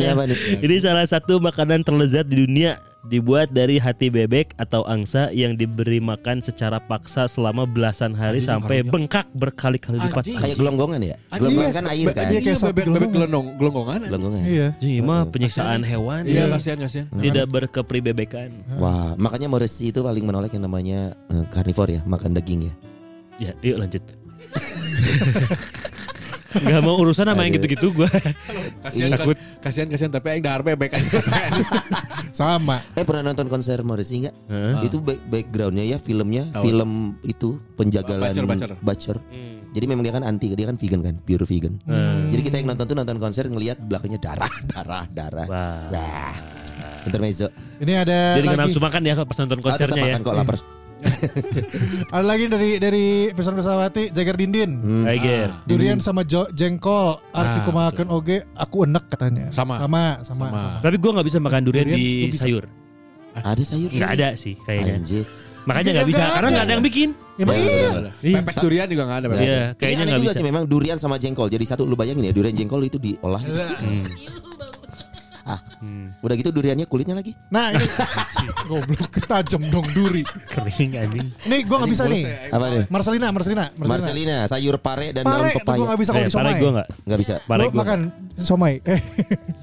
ini apa nih? Ini salah satu makanan terlezat di dunia dibuat dari hati bebek atau angsa yang diberi makan secara paksa selama belasan hari Anjing, sampai karunya. bengkak berkali-kali lipat. Anjing. Kayak gelonggongan ya? Ah, Anjing, Gelonggongan iya. kan air Ba- kan? dia kayak sapi bebek, bebek gelondongan. gelondong, gelonggongan. Gelonggongan. Iya. Anjing, ini mah penyiksaan hewan. Iya, kasihan, kasihan. Tidak berkepribebekan. Wah, makanya moresi itu paling menolak yang namanya eh, carnivore ya, makan daging ya. Ya, yuk lanjut. Gak mau urusan sama yang Aduh. gitu-gitu gue. Kasihan, Takut. kasihan, kasihan. Tapi yang dahar bebek aja. Sama. Eh pernah nonton konser moresi nggak? Heeh. Itu back- backgroundnya ya filmnya, Tahu. film itu penjagalan Bacer, bacer. bacer. Hmm. Jadi memang dia kan anti, dia kan vegan kan, pure vegan. Hmm. Jadi kita yang nonton tuh nonton konser ngelihat belakangnya darah, darah, darah. Wah. Nah, intermezzo. Ini ada Jadi nggak lagi. nafsu makan ya pas nonton Ah, tetap konsernya ya. makan kok lapar. Ada lagi dari dari pesan pesawati Jagar Dindin. Tiger. Durian sama jo- jengkol, arti kumahakeun oge aku enek katanya. Sama. Sama, sama. Sama. sama. Tapi gue nggak bisa makan durian, Durian di lu bisa. sayur. Ada sayur? Nggak ada sih kayaknya. Anjir. Makanya Iya, nggak bisa nggak karena ada. nggak ada yang bikin. Ya, emang iya. Iya. Pepes durian juga nggak ada. Bang. Iya, Ini kayaknya aneh nggak juga bisa. sih memang durian sama jengkol. Jadi satu lu bayangin ya, durian jengkol itu diolah. Hmm, Udah gitu duriannya kulitnya lagi. Nah, ini goblok tajam dong duri. Kering anjing. Nih gua nggak bisa nih. Apa nih? Marcelina, Marcelina, Marcelina. Marcelina, sayur pare dan daun Pare, tapi pepaya. gua nggak bisa kalau Eh, di pare somai. gue nggak. Nggak bisa. Pare Lu gue. makan somai. Eh,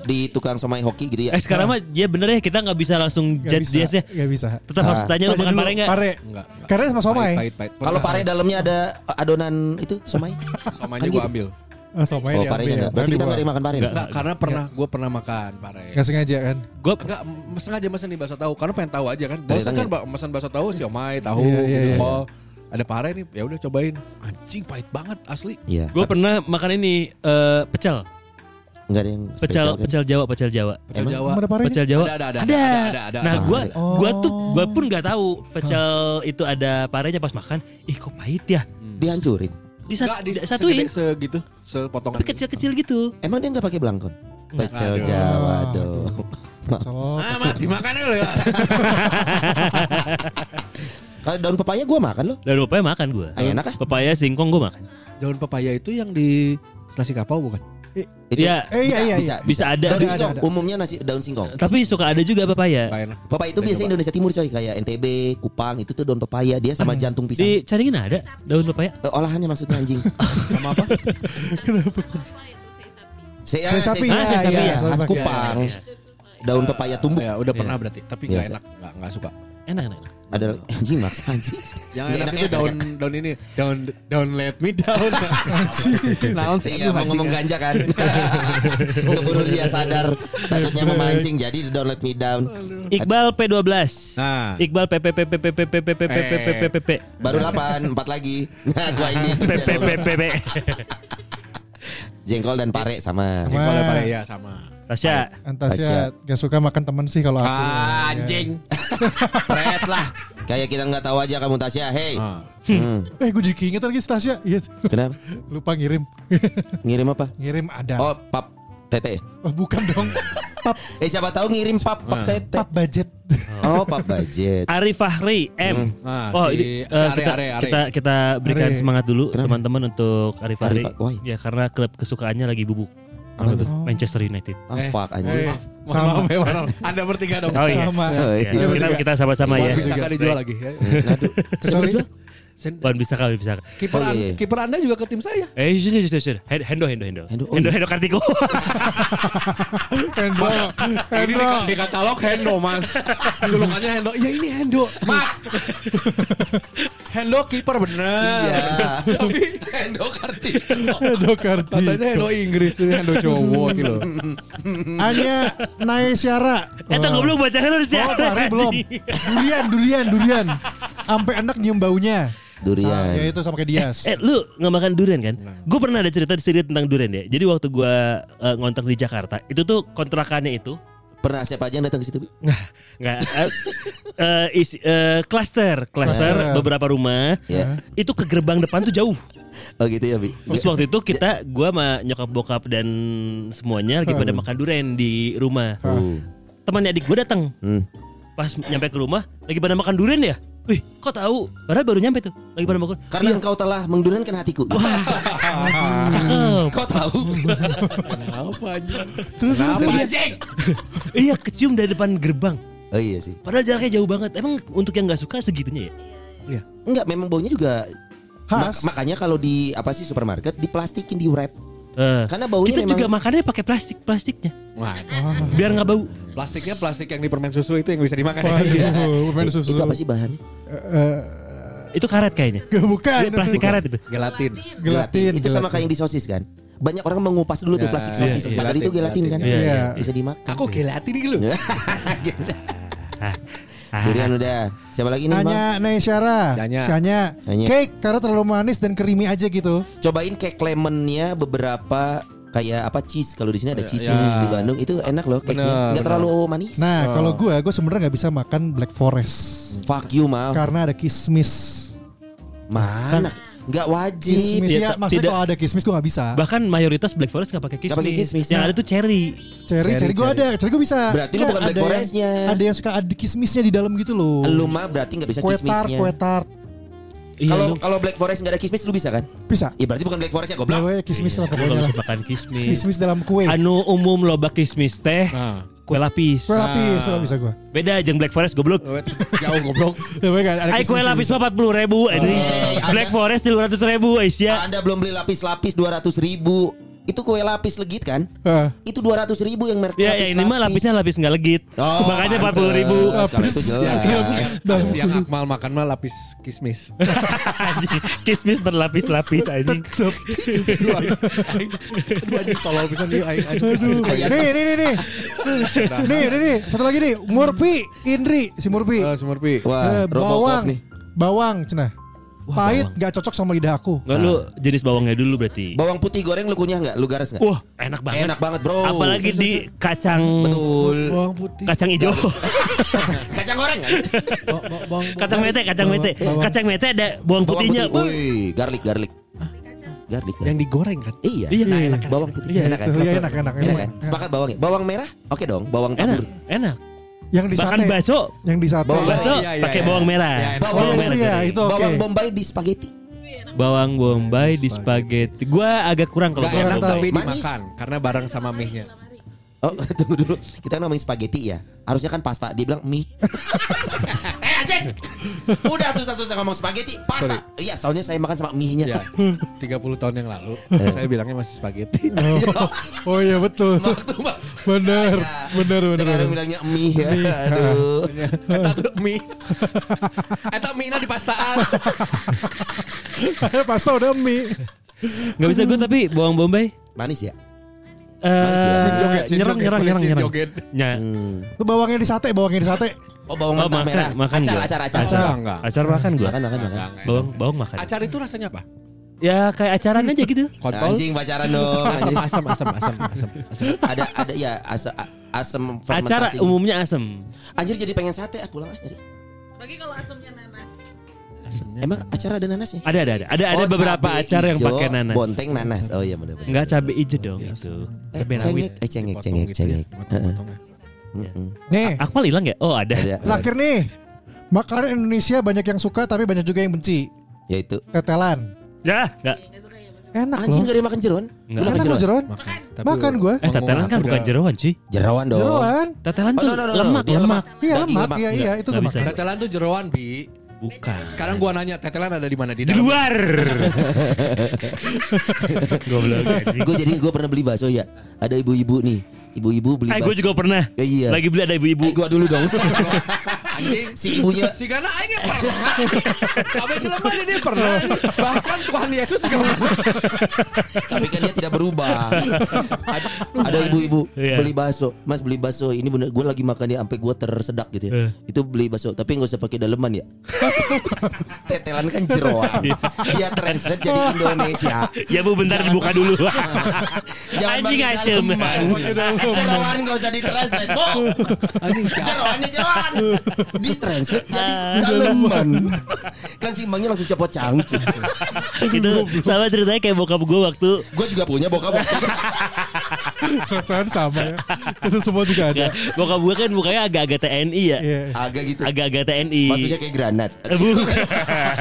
Di tukang somai hoki gitu ya. Eh sekarang mah ya bener ya kita nggak bisa langsung nggak judge bisa. dia sih. Nggak bisa. Tetap harus Ah. tanya lu makan dulu, pare nggak? Pare. Enggak. enggak. Karena sama somai. Pahit, pahit, pahit. Kalau pare dalamnya ada adonan itu somai. Somanya Kan gua gitu. ambil. Ah, somai Oh, diambil. parenya enggak. Berarti kita Dibuang. enggak ada yang makan pare. ya? nih? Iya. Enggak, karena pernah gue pernah makan pare. Nggak sengaja kan. Gue Enggak, m- sengaja mesen nih bakso tahu karena pengen tahu aja kan. Ternyata Bosan kan nggak. ba- mesen bakso tahu siomay, tahu Iya, iya, gitu. iya. Oh, ada pare nih, ya udah cobain. Anjing pahit banget asli. Iya. gue pernah makan ini eh, pecel, Enggak ada yang pecel, spesial kan? pecel Jawa, pecel Jawa. Pecel Emang? Jawa. Emang ada pare? Pecel Jawa. Ada, ada, ada, ada. ada, ada, ada. Nah, gua Oh. gua tuh gua pun nggak tahu pecel itu ada parenya pas makan. Ih, kok pahit ya? Dihancurin. Enggak, Disat, di- disatuin. segede- segitu, sepotong. Tapi kecil-kecil gitu. Emang dia enggak pakai belangkon? Aduh. Pecel Jawa dong. Cok. Ah, mati makan dulu ya. Kalau daun pepaya gua makan loh. Dan pepaya makan gue. Ah, enak ah. Pepaya singkong gue makan. Daun pepaya itu yang di nasi kapau bukan? Itu Iya, Eh iya iya. bisa, iya. bisa ada. Daun Ada, singkong. ada, ada. Umumnya nasi daun singkong. Tapi suka ada juga pepaya. Enggak enak. Pepaya itu Udah biasanya nyoba. Indonesia Timur coy kayak NTB, Kupang itu tuh daun pepaya dia sama jantung pisang. Di Caringin ada daun pepaya. Eh, olahannya maksudnya anjing. Sama apa? Saya Sei sapi, Ah, sei ya, sapi, iya. ya. khas Sei sapi. Kupang. Daun pepaya tumbuh. Iya, Ya udah pernah berarti, tapi enggak Biasa. enak, enggak enggak suka. Enak enak. enak. Ada lagi- anjing maksa anjing. Yang Nggak Iya, enak, enak, itu enak, daun daun ini, daun daun let me down. Naon sih Iya mau ngomong ganja kan Keburu dia sadar Takutnya memancing Jadi di download me down Iqbal P12. Nah. Iqbal PPPPPPPPPPPPP. Baru 8 4 lagi Nah gua ini PPPPP. Jengkol dan pare sama Sama. Kalau pare ya sama. Tasya. Antasya gak suka makan temen sih kalau aku. Ah. Anjing. Pret lah Kayak kita nggak tahu aja kamu Tasya Hey Ah. Hmm, Eh gue jadi keinget lagi si Tasya. Iya. Kenapa? Lupa ngirim. Ngirim apa? ngirim ada. Oh pap tete Oh, bukan dong. pap Eh siapa tahu ngirim pap pap tete pap budget. Oh pap budget Ari Fahri M. Ah, oh, si- ini, si eh, Ari, kita, Ari, Ari. kita kita berikan Ari. semangat dulu teman-teman untuk Ari Fahri. Ari Fa- why? Ya karena klub kesukaannya lagi bubuk. Apa tuh? Manchester United. Ah fuck anjing. Eh, sama maaf ya, Warnal. Anda bertiga dong. Oh iya. Sama. Oh, Ya, iya. kita, kita sama-sama ya. Bisa kan dijual lagi. ya? Kecuali Sen- Wan bisa kali bisa. Kiper Oh, an- iya, iya. kiper Anda juga ke tim saya. Eh, sure, sure, sure, sure. Hen- Hendo, Hendo, Hendo. Hendo, Hendo, oh Hendo, Kartiko. Hendro, Eh, Ini di, Hendro. di katalog Hendo mas Julukannya Hendo Ya ini Hendo Mas Hendo kiper Iya. bener Tapi Endo Kartiko. Hendro Karti. Katanya Hendo Inggris Ini Hendo cowok gitu Hanya Naesyara. Eta Wah. gue belum baca kan harus Oh, Fahri belum. Durian, durian, durian. Sampai enak nyium baunya. Sa- Ya Durian. itu sama kayak Dias. Eh lu nggak makan durian kan? Gue pernah ada cerita di sini tentang durian ya. Jadi waktu gue ngontrak di Jakarta, itu tuh kontrakannya itu Pernah siapa aja yang datang ke situ? Bi? nggak eh, eh, isi eh, cluster, cluster Cluster. beberapa rumah. Ya. Itu ke gerbang depan tuh jauh. Oh gitu ya, Bi. Terus waktu itu kita, gue sama nyokap bokap dan semuanya lagi pada makan durian di rumah. Uh. Temannya adik gue datang. Hmm. Pas nyampe ke rumah, lagi pada makan durian ya? Wih, kok tahu? Padahal baru nyampe tuh. Lagi pada makan. Karena engkau telah mengdurankan hatiku. Cakep. Kau tahu? Terus terus, Iya kecium dari depan gerbang. Oh iya sih. Padahal jaraknya jauh banget. Emang untuk yang nggak suka segitunya ya? Enggak, memang baunya juga Khas. Ma- makanya kalau di apa sih supermarket diplastikin di wrap. Eh, Karena baunya kita memang juga makannya pakai plastik plastiknya Waduh. biar nggak bau. Plastiknya plastik yang di permen susu itu yang bisa dimakan Iya. Waduh, iya. main Eh, susu. Itu apa sih bahannya? Itu karet kayaknya. Gak bukan. Ini plastik kan. karet itu. Gelatin Gelatin. Itu sama kayak yang di sosis kan? Banyak orang mengupas dulu Ya, tuh plastik iya, sosis. iya. Padahal itu gelatin kan? Iya, iya. Bisa dimakan. Aku gelatin nih lu Ah, ah. Durian udah. Siapa lagi nih, Bang? Hanya Naesyara. Sanya. Sanya. Sanya. Cake karena terlalu manis dan creamy aja gitu. Cobain cake lemonnya beberapa kayak apa cheese kalau di sini ada cheese ya. nih. di Bandung itu enak loh cake Bener, nggak bener. terlalu manis Nah, kalau gue, gue sebenarnya nggak bisa makan Black Forest fuck you mal karena ada kismis. mana nggak wajib Kismis ya, Tidak- maksudnya tidak- kalau ada kismis gue nggak bisa. Bahkan mayoritas Black Forest nggak pakai Nggak pakai kismis. kismis. Yang ada tuh cherry. Cherry, cherry gue ada, cherry gue bisa. Berarti lu Nggak, bukan Black ada yang- Forest-nya. Ada yang suka ada kismisnya di dalam gitu loh. lu mah berarti nggak bisa kue tart, kismisnya kue tart. Iya, kalau lu- kalau black forest nggak ada kismis lu bisa kan Bisa. ya berarti bukan black forest ya goblok Pokoknya Iya, kismis lah lu nggak pokoknya bisa lah. makan kismis. Kismis dalam kue. Anu umum loba kismis teh, Ah. Nah. kue lapis. Kue Ah. lapis lah bisa Ya, gue. Beda jeung Black Forest goblok. Jauh goblok Ay kue gitu. lapis mah 40 ribu Oh, iya, ada- Black Forest 200 ribu Aisyah anda belum beli lapis-lapis 200 ribu itu kue lapis legit kan Ah. itu 200 ribu yang merek Iya, Ya, ya ini mah lapisnya lapis nggak legit Oh, Makanya pantes. 40 ribu Kalau itu jelas Yang Akmal makan mah lapis kismis Kismis berlapis-lapis anjing Aduh anjing tolol pisan dia aing aing. Nih, nih, nih, nih. nih, nih, nih. Satu lagi nih. Murpi, Indri, si Murpi. Eh, Smurfi. Eh, wah Robocop bawang, nih bawang, cenah. Pahit, nggak cocok sama lidah aku. Nggak lu jenis bawangnya dulu berarti bawang putih goreng lu kunyah nggak lu garas nggak Wah enak banget enak banget bro Apalagi di kacang betul Bawang putih. Kacang hijau kacang goreng kan Ba- ba- bawang- Kacang mete Kacang bawang- mete bawang- Kacang mete ada bawang bawang putihnya putih woi garlic garlic garlic Yang digoreng kan Iya. Iya, Nah, iya. enak, bawang putih. Iya, enak kan? Iya, enak, enak, Enak enak. kan? Sepakat bawang ya? Bawang merah? Oke dong, bawang Enak tabur. Enak Iya, Yang di Bahkan sate. bakso Yang di sate. Bawang- Bakso Iya, iya, pakai iya. bawang Iya, merah enak. Oh, Bawang iya, merah iya, tadi. itu oke. Bawang bombay di spaghetti. Bawang bombay di spaghetti Gua agak kurang kalau Gak bawang enak tahu. tapi bombay Manis. dimakan Karena bareng sama mie-nya Oh, tunggu dulu. Kita kan ngomongin spaghetti ya. Harusnya kan pasta. Dia bilang mie. eh, Ajeng! Udah susah-susah ngomong spaghetti, pasta. Iya, soalnya saya makan sama mie-nya. Ya 30 tahun yang lalu Saya bilangnya masih spaghetti Eh. Oh iya betul. Bener, bener, bener. Ya. Sekarang bener. bilangnya mie ya. Aduh. Iya. Eta tuh mie Eta mie-nya di pastaan Eh, pasta udah mie. Gak bisa gue tapi bawang bombay Manis ya? Eh, nyerang, nyerang, nyerang, nyerang. Ya, Itu bawangnya di sate, bawangnya di sate. Hmm. Oh, bawang oh, mentah merah. makan, makan acar, gua. acar, acar, acar, Enggak, enggak. acar makan gue. Makan, makan, makan. Bawang, bawang makan. Acar itu rasanya apa? Ya kayak acaran aja gitu. Kontol Anjing pacaran dong. Asam, anjing. asam, asam, asam, asam, asam. ada ada ya asam asam Acara fermentasi. umumnya asem. Anjir jadi pengen sate ah pulang ah jadi. Bagi kalau asamnya nanas. Asamnya. Emang acara ada nanasnya? Ada, ada, ada. Ada, ada Oh, beberapa cabai acara yang ijo, pakai nanas. Bonteng nanas. Oh iya benar benar. Enggak cabai hijau dong itu. Eh, Cabai rawit. cengek, eh cengek, Dipotong cengek, gitu ya, cengek. Heeh. potong-potong ya. Mm-mm. Nih, Akmal hilang ya? Oh ada. Ada. terakhir nih. Makanan Indonesia banyak yang suka tapi banyak juga yang benci. Yaitu Tetelan. Ya, enggak. Enak Anjing loh. gak dia makan jeroan? Enggak. Lu makan Enak loh jeroan? jeroan. Makan, tapi Makan gua. Eh tetelan kan Menguap. bukan jeroan cuy. Jeroan dong. Jeroan. Tetelan Oh, tuh no, no, no, no. lemak, Dia lemak. Iya Daging lemak, lemak. iya iya Enggak. itu Nggak lemak. bisa. Tetelan tuh jeroan, Bi. Bukan. Sekarang gua nanya, tetelan ada di mana? Di di dalam? luar. Goblok. anjing. Gue jadi gue pernah beli bakso ya. Ada ibu-ibu nih. Ibu-ibu beli Eh bakso. gue juga pernah. Ya, iya. Lagi beli ada Eh ibu-ibu. gue dulu dong. Anjing. si ibunya Si Gana aing yang pernah. Sampai jelema dia, dia pernah. Oh. Bahkan Tuhan Yesus juga pernah. tapi kan dia tidak berubah. Ada, ada ibu-ibu Iya. beli bakso. Mas beli bakso. Ini bener gue lagi makan ya sampai gue tersedak gitu ya. Iya. Itu beli bakso tapi nggak usah pakai daleman ya. Tetelan kan jeroan. Iya. dia translate jadi Indonesia. Ya bu bentar dibuka dulu. Jangan Anjing pakai asem. daleman. Jeroan nggak usah ditranslate, Bo. Jeroan ya jeroan. Ditranslate jadi Ah, daleman. Kan si Mangnya langsung cepot cangcut. Itu sama ceritanya kayak bokap gue waktu Gue juga punya bokap. Perasaan sama ya. Itu semua juga ada. bokap gue kan mukanya agak-agak TNI ya. Iya. Agak gitu. Agak-agak TNI. Maksudnya kayak granat. Eh, Bukan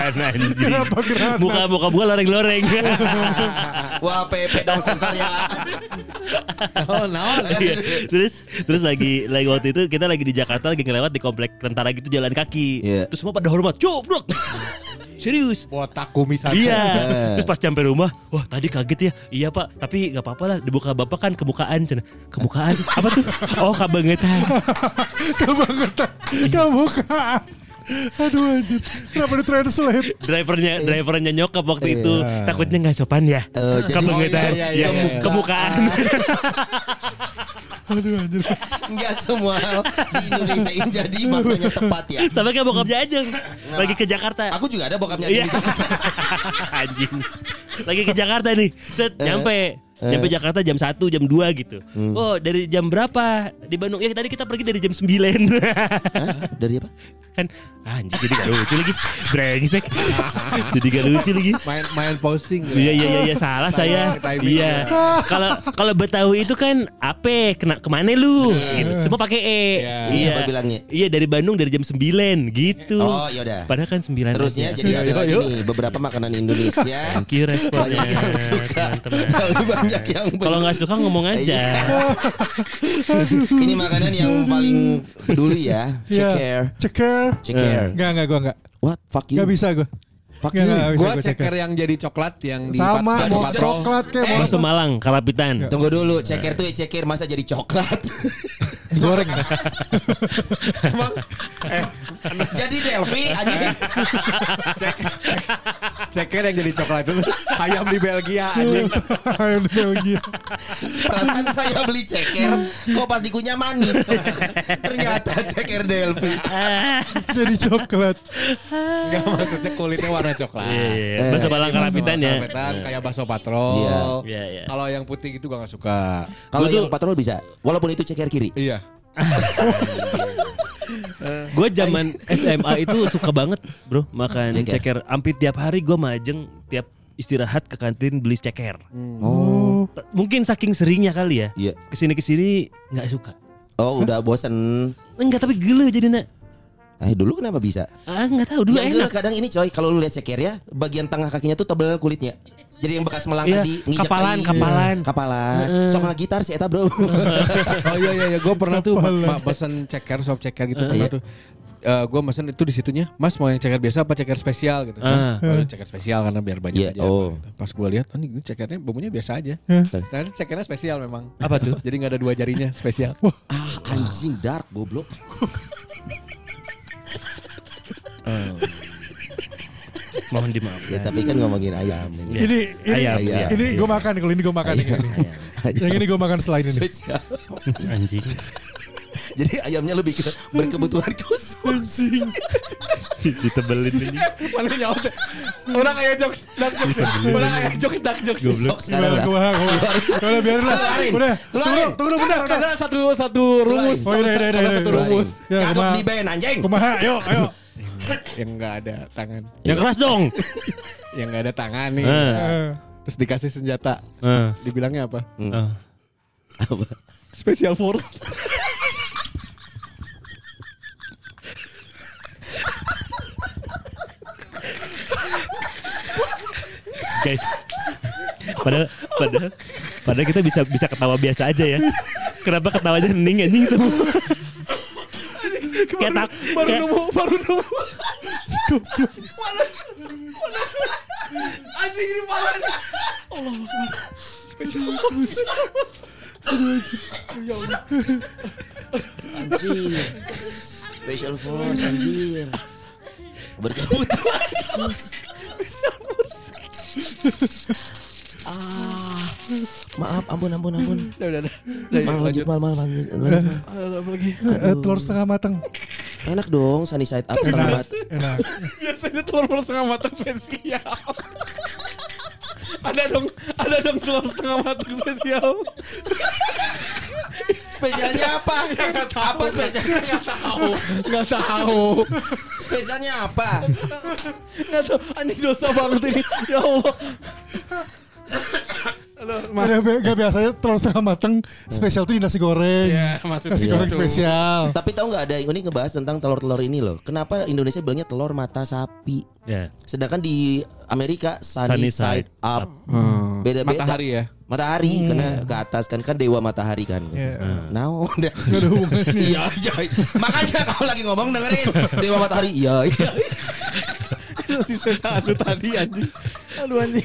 anjing. Kenapa granat? Muka muka gue loreng-loreng. Wah, PP dong sensor ya. Oh, naon. Iya. terus terus lagi lagi waktu itu kita lagi di Jakarta lagi ngelewat di komplek tentara gitu jalan kaki. Iya. Terus semua pada hormat. Cobrok. Serius. Botak kumis aja. Iya. Eh. Terus pas sampai rumah, wah tadi kaget ya. Iya pak, tapi nggak apa-apa lah. Dibuka bapak kan kebukaan, cen. kebukaan. Apa tuh? Oh kebangetan. Kebangetan. Kebukaan. Aduh anjir. Kenapa ditranslate? Drivernya, drivernya nyokap waktu itu. Takutnya nggak sopan ya. Eh, jadi- kebangetan. Oh, iya, Ya, iya, iya, iya. kebukaan. Aduh anjir. Enggak semua hal di Indonesia ini jadi maknanya tepat ya. Sampai kayak bokapnya aja lagi ke Jakarta. Aku juga ada bokapnya Iya. di Jakarta. Anjing. Lagi ke Jakarta nih. Set Eh, nyampe. Nyampe Jakarta jam 1, jam 2 gitu. Hmm. Oh, dari jam berapa di Bandung? Ya tadi kita pergi dari jam 9. Dari apa? kan anjing jadi gak lucu lagi. Brengsek. jadi gak lucu lagi. Main main posing. ya. Iya iya iya, iya salah saya. timing. Iya. Kalau kalau Betawi itu kan ape kena kemana lu? Eh. Gitu. Semua pakai e. Ini apa Iya, bilangnya? Iya dari Bandung dari jam 9 gitu. Oh, yaudah. Padahal kan 9 Terusnya jadi ada lagi nih beberapa makanan Indonesia. Thank you responnya Banyak yang suka. teman-teman. Tapi banyak yang Kalau nggak suka ngomong aja. Iya. Ini makanan yang paling peduli ya. Iya. Ceker. Ceker. Ceker. Enggak enggak gua enggak. What? Fuck you. Enggak bisa gua. Fuck Nggak, you. nggak bisa Gua gua ceker yang jadi coklat yang di Sama pat- mau patrol. coklat kayak mau Bakso Malang, Kalapitan. Tunggu dulu, Iya. ceker tuh ya ceker masa jadi coklat. goreng. Emang, eh, jadi Delphi anjing. ceker yang jadi coklat itu ayam di Belgia anjing. Ayam di Belgia. Perasaan saya beli ceker Kok pas dikunyah manis Ternyata ceker Delphi Jadi coklat. Enggak maksudnya kulitnya warna coklat. Iya, iya, Eh, iya. Bakso Malang, Kalapitan ya. Karapetan, kayak bakso patrol. Iya. Iya, iya. Kalau yang putih gitu gua gak suka. Kalau Gua tuh- yang patrol bisa Walaupun itu ceker kiri Iya. Gue zaman SMA itu suka banget, bro, makan Ceker. ceker. Hampir tiap hari gue majeng tiap istirahat ke kantin beli ceker. Oh T- Mungkin saking seringnya kali ya. Iya Kesini kesini nggak suka. Oh udah bosen Enggak tapi gelo jadi nak. Eh dulu kenapa bisa Ah nggak tahu dulu Yang dulu enak. Ya kadang ini coy Kalau lu lihat ceker ya Bagian tengah kakinya tuh tebel kulitnya Jadi yang bekas melang Iya, tadi ngijak kapalan, tadi. kapalan. Iya, Kapalan Sok nggak gitar sih Eta Oh bro iya iya, iya. gue pernah tuh mak mak pesen ceker sop ceker gitu pernah Iya. tuh. gue pesen itu di situnya, Mas mau yang ceker biasa apa ceker spesial gitu. Ah. Oh, ceker spesial karena biar banyak Iya, aja. oh. Pas gue lihat, oh, ini ini cekernya bumbunya biasa aja. Ternyata cekernya spesial memang. Apa tuh? Jadi nggak ada dua jarinya spesial. Ah anjing dark goblok Mohon dimaafkan. Ya tapi kan ngomongin ayam ini Ini kan. ini Ayam, iya. Iya. ini gua makan kalau ini gua makan yang ini. Yang ini gua makan selain ini. Spesial. Anjing. Jadi ayamnya lebih ke berkebutuhan khusus Ditebelin ini. Mana nyaut? Orang kayak jokes, dark jokes. ya. Iya, Orang kayak jokes, dark jokes. Sok sekarang Gua lah. gua gua. Udah biarin lah. Keluarin. Udah. Tunggu, Keluarin. tunggu bentar, udah. Karena Kan satu satu rumus. Oh, iya, iya, iya, Karena iya, satu iya. rumus. Ya, Kagak kumaha. di band anjing. Kumaha, ayo, ayo. Yang nggak ada tangan. Yang keras dong. Yang nggak ada tangan nih. Eh. Iya. Eh, Terus dikasih senjata. Eh, Dibilangnya apa? eh. Special Force. Guys. Padahal, padahal, padahal kita bisa bisa ketawa biasa aja ya. Kenapa ketawanya hening anjing semua? kayak tak, baru kayak- nemu baru nemu panas panas anjing ini panas Allah Allah. spesial Anjir. Special force anjir. Berkebutuhan. Ah, maaf, ampun, ampun, ampun. udah udah udah Mal, lanjut, mal, mal, lanjut. Eh, telur setengah matang. Enak dong, sunny side up, setengah mat- Enak. biasanya telur telur setengah matang spesial ada dong ada dong telur setengah matang spesial Spesialnya apa? Apa spesialnya? Nggak tahu. nggak tahu Spesialnya apa? nggak tahu anjing dosa banget ini ya Allah Gak, bi- gak biasanya telur setengah matang spesial tuh di nasi goreng. Ya, maksudnya nasi goreng gitu. spesial. Tapi tahu nggak ada yang ini ngebahas tentang telur-telur ini loh. Kenapa Indonesia bilangnya telur mata sapi? Ya. Sedangkan di Amerika Sunny sunny, side, side up. Hmm. Beda-beda. matahari ya Matahari kena ke atas kan kan dewa matahari kan. Now ada hubungannya. Iya, iya. Makanya kalau lagi ngomong dengerin dewa matahari. Iya, iya. sisa satu tadi anjing aduh anjing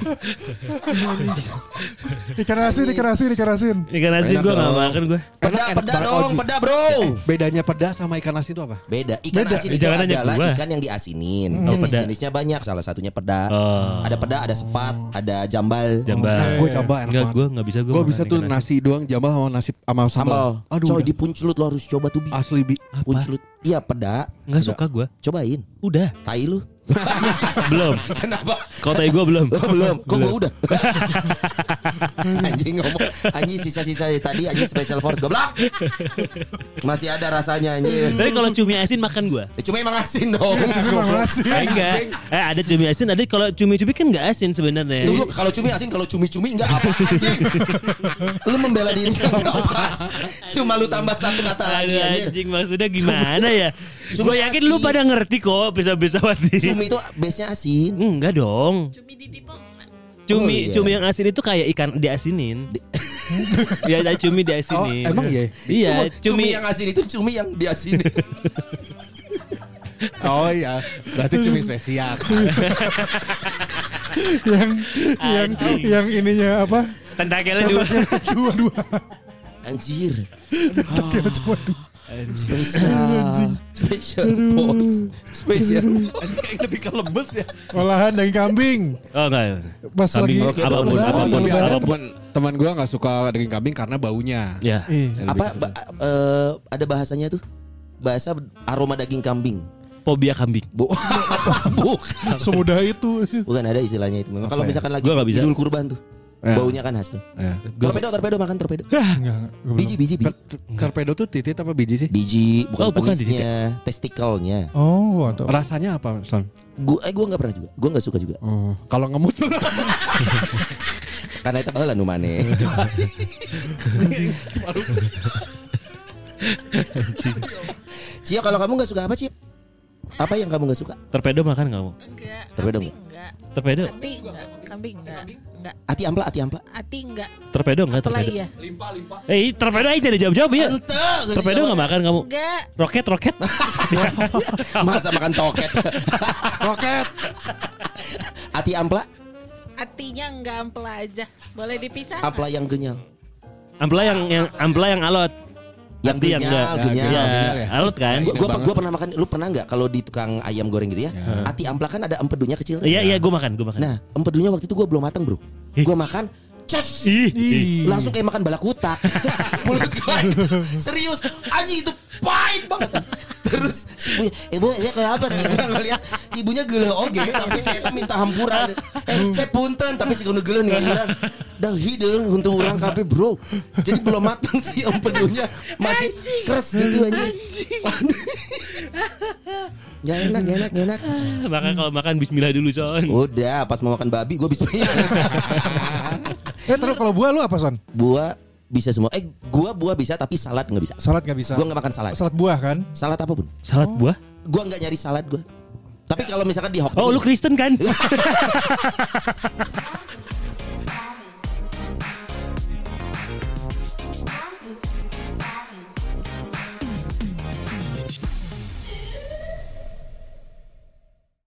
Ikan asin, ikan asin, ikan asin. Ini kan asin Enak gue gak dong. makan gue. Peda, enak peda banget, dong, Oji. peda bro. bedanya pedas sama ikan asin itu apa Beda. Ikan Beda. asin Eh, itu jangan nanya adalah gua. ikan yang diasinin. Oh, peda. Jenis-jenisnya banyak. Salah satunya peda. Oh. Ada peda, ada sepat, ada jambal. Jambal. Nah, gue coba enak Enggak, banget. gue gak bisa. Gue Gue bisa tuh nasi doang jambal sama nasi sama sambal. Sambal. Aduh, Coy, udah. di puncelut lo harus coba tuh. Bi. asli bi. Apa? Puncelut. Iya, peda. Enggak suka gue. Cobain. Udah. Tai lu. Belum. Kenapa? Kalau tadi gue belum. Oh, belum. Kok Belum. gua udah? anjing ngomong. Anjing sisa-sisa ya tadi anjing special force goblok. Masih ada rasanya anjing. Tapi kalau cumi asin makan gue. Eh, Cuma emang asin dong. Emang asin. Eh, enggak. Eh ada cumi asin, ada kalau cumi-cumi kan enggak asin sebenarnya. Tunggu kalau cumi asin kalau cumi-cumi enggak apa anjing. Lu membela diri enggak pas. Cuma lu tambah satu kata lagi Aduh, anjir. anjing maksudnya gimana ya? Cumi Gue yakin lu asin. pada ngerti kok bisa-bisawati. Cumi itu base-nya asin. Enggak dong. Cumi di Depok Pak. Cumi Oh, iya. cumi yang asin itu kayak ikan diasinin. ya ada cumi diasinin. Oh, emang iya? Iya, Cuma- cumi cumi, yang asin itu cumi yang diasinin. Oh iya, berarti cumi spesial. yang yang Anjing. yang ininya apa? tentakelnya dua. Dua dua. Anjir. Cuma dua. Special. Special force. Special. Anjing lebih kelembes ya. Olahan daging kambing. Oh enggak. Pas Kambing, lagi Oke, apapun, lebaran, apapun, Tapi ada lebaran. apapun. teman teman gue nggak suka daging kambing karena baunya. Ya. Ih, Lebih apa ke situ. ba- eh, ada bahasanya tuh bahasa aroma daging kambing Fobia kambing. Bu- bukan semudah itu. bukan ada istilahnya itu memang Apa kalau ya? misalkan lagi Gua nggak bisa. idul kurban tuh Ya. baunya kan khas tuh Ya. Gua- torpedo torpedo makan torpedo Enggak, enggak, biji biji biji Ter- ter- Torpedo tuh titit apa biji sih? biji bukan Oh, bukan di penisnya testikelnya Oh, atau Rasanya apa, Son? gua eh gua nggak pernah juga gua nggak suka juga Oh, kalau ngemut karena itu heula nu maneh Cia kalau kamu nggak suka apa Cia apa yang kamu nggak suka Torpedo makan enggak mau? Enggak Torpedo Kambing enggak Torpedo, Ati enggak Kambing enggak Enggak ati ampla ati ampla Ati enggak torpedo enggak Apalagi torpedo. ya Eh, torpedo aja jadi jawab-jawab ya. Ente, Torpedo enggak makan kamu. Enggak Roket, roket. Masa makan toket Roket Ati ampla Atinya enggak ampla aja Boleh dipisah nggak? Ampla yang genyal Ampla yang yang ampla yang alot. Yang Tapi yang genyal enggak. Genyal Ya, benar ya. alot kan? Gua, gua, gua pernah makan Lu pernah nggak Kalau di tukang ayam goreng gitu ya Ati ampla kan ada empedunya kecil tuh. Iya, iya gua makan, gua makan. Nah empedunya waktu itu gua belum matang bro Ih. Gua makan Cus Ih, ih. Langsung kayak makan balak kutak Mulut gua itu, Serius Anjing itu pahit banget Terus si ibunya Ibu ini kayak apa sih Gua ngeliat si Ibunya gele oge Tapi saya tuh minta hampuran Eh saya punten Tapi si kuno gele nih ngeliat Dah hidung Untuk orang kabe bro Jadi belum matang sih Om pedunya Masih keras gitu anjing Gak enak gak enak gak enak Maka kalau makan bismillah dulu, Son. Oh. Udah pas mau makan babi Gue bisa Eh, terus kalau buah lu apa, Son? Buah bisa semua Eh gua buah bisa Tapi salad gak bisa Salad gak bisa. Gua gak makan salad Salad buah kan? Salad apapun Salad buah? Gua nggak nyari salad gua. Tapi kalau misalkan di Hokben Oh, lu Kristen kan?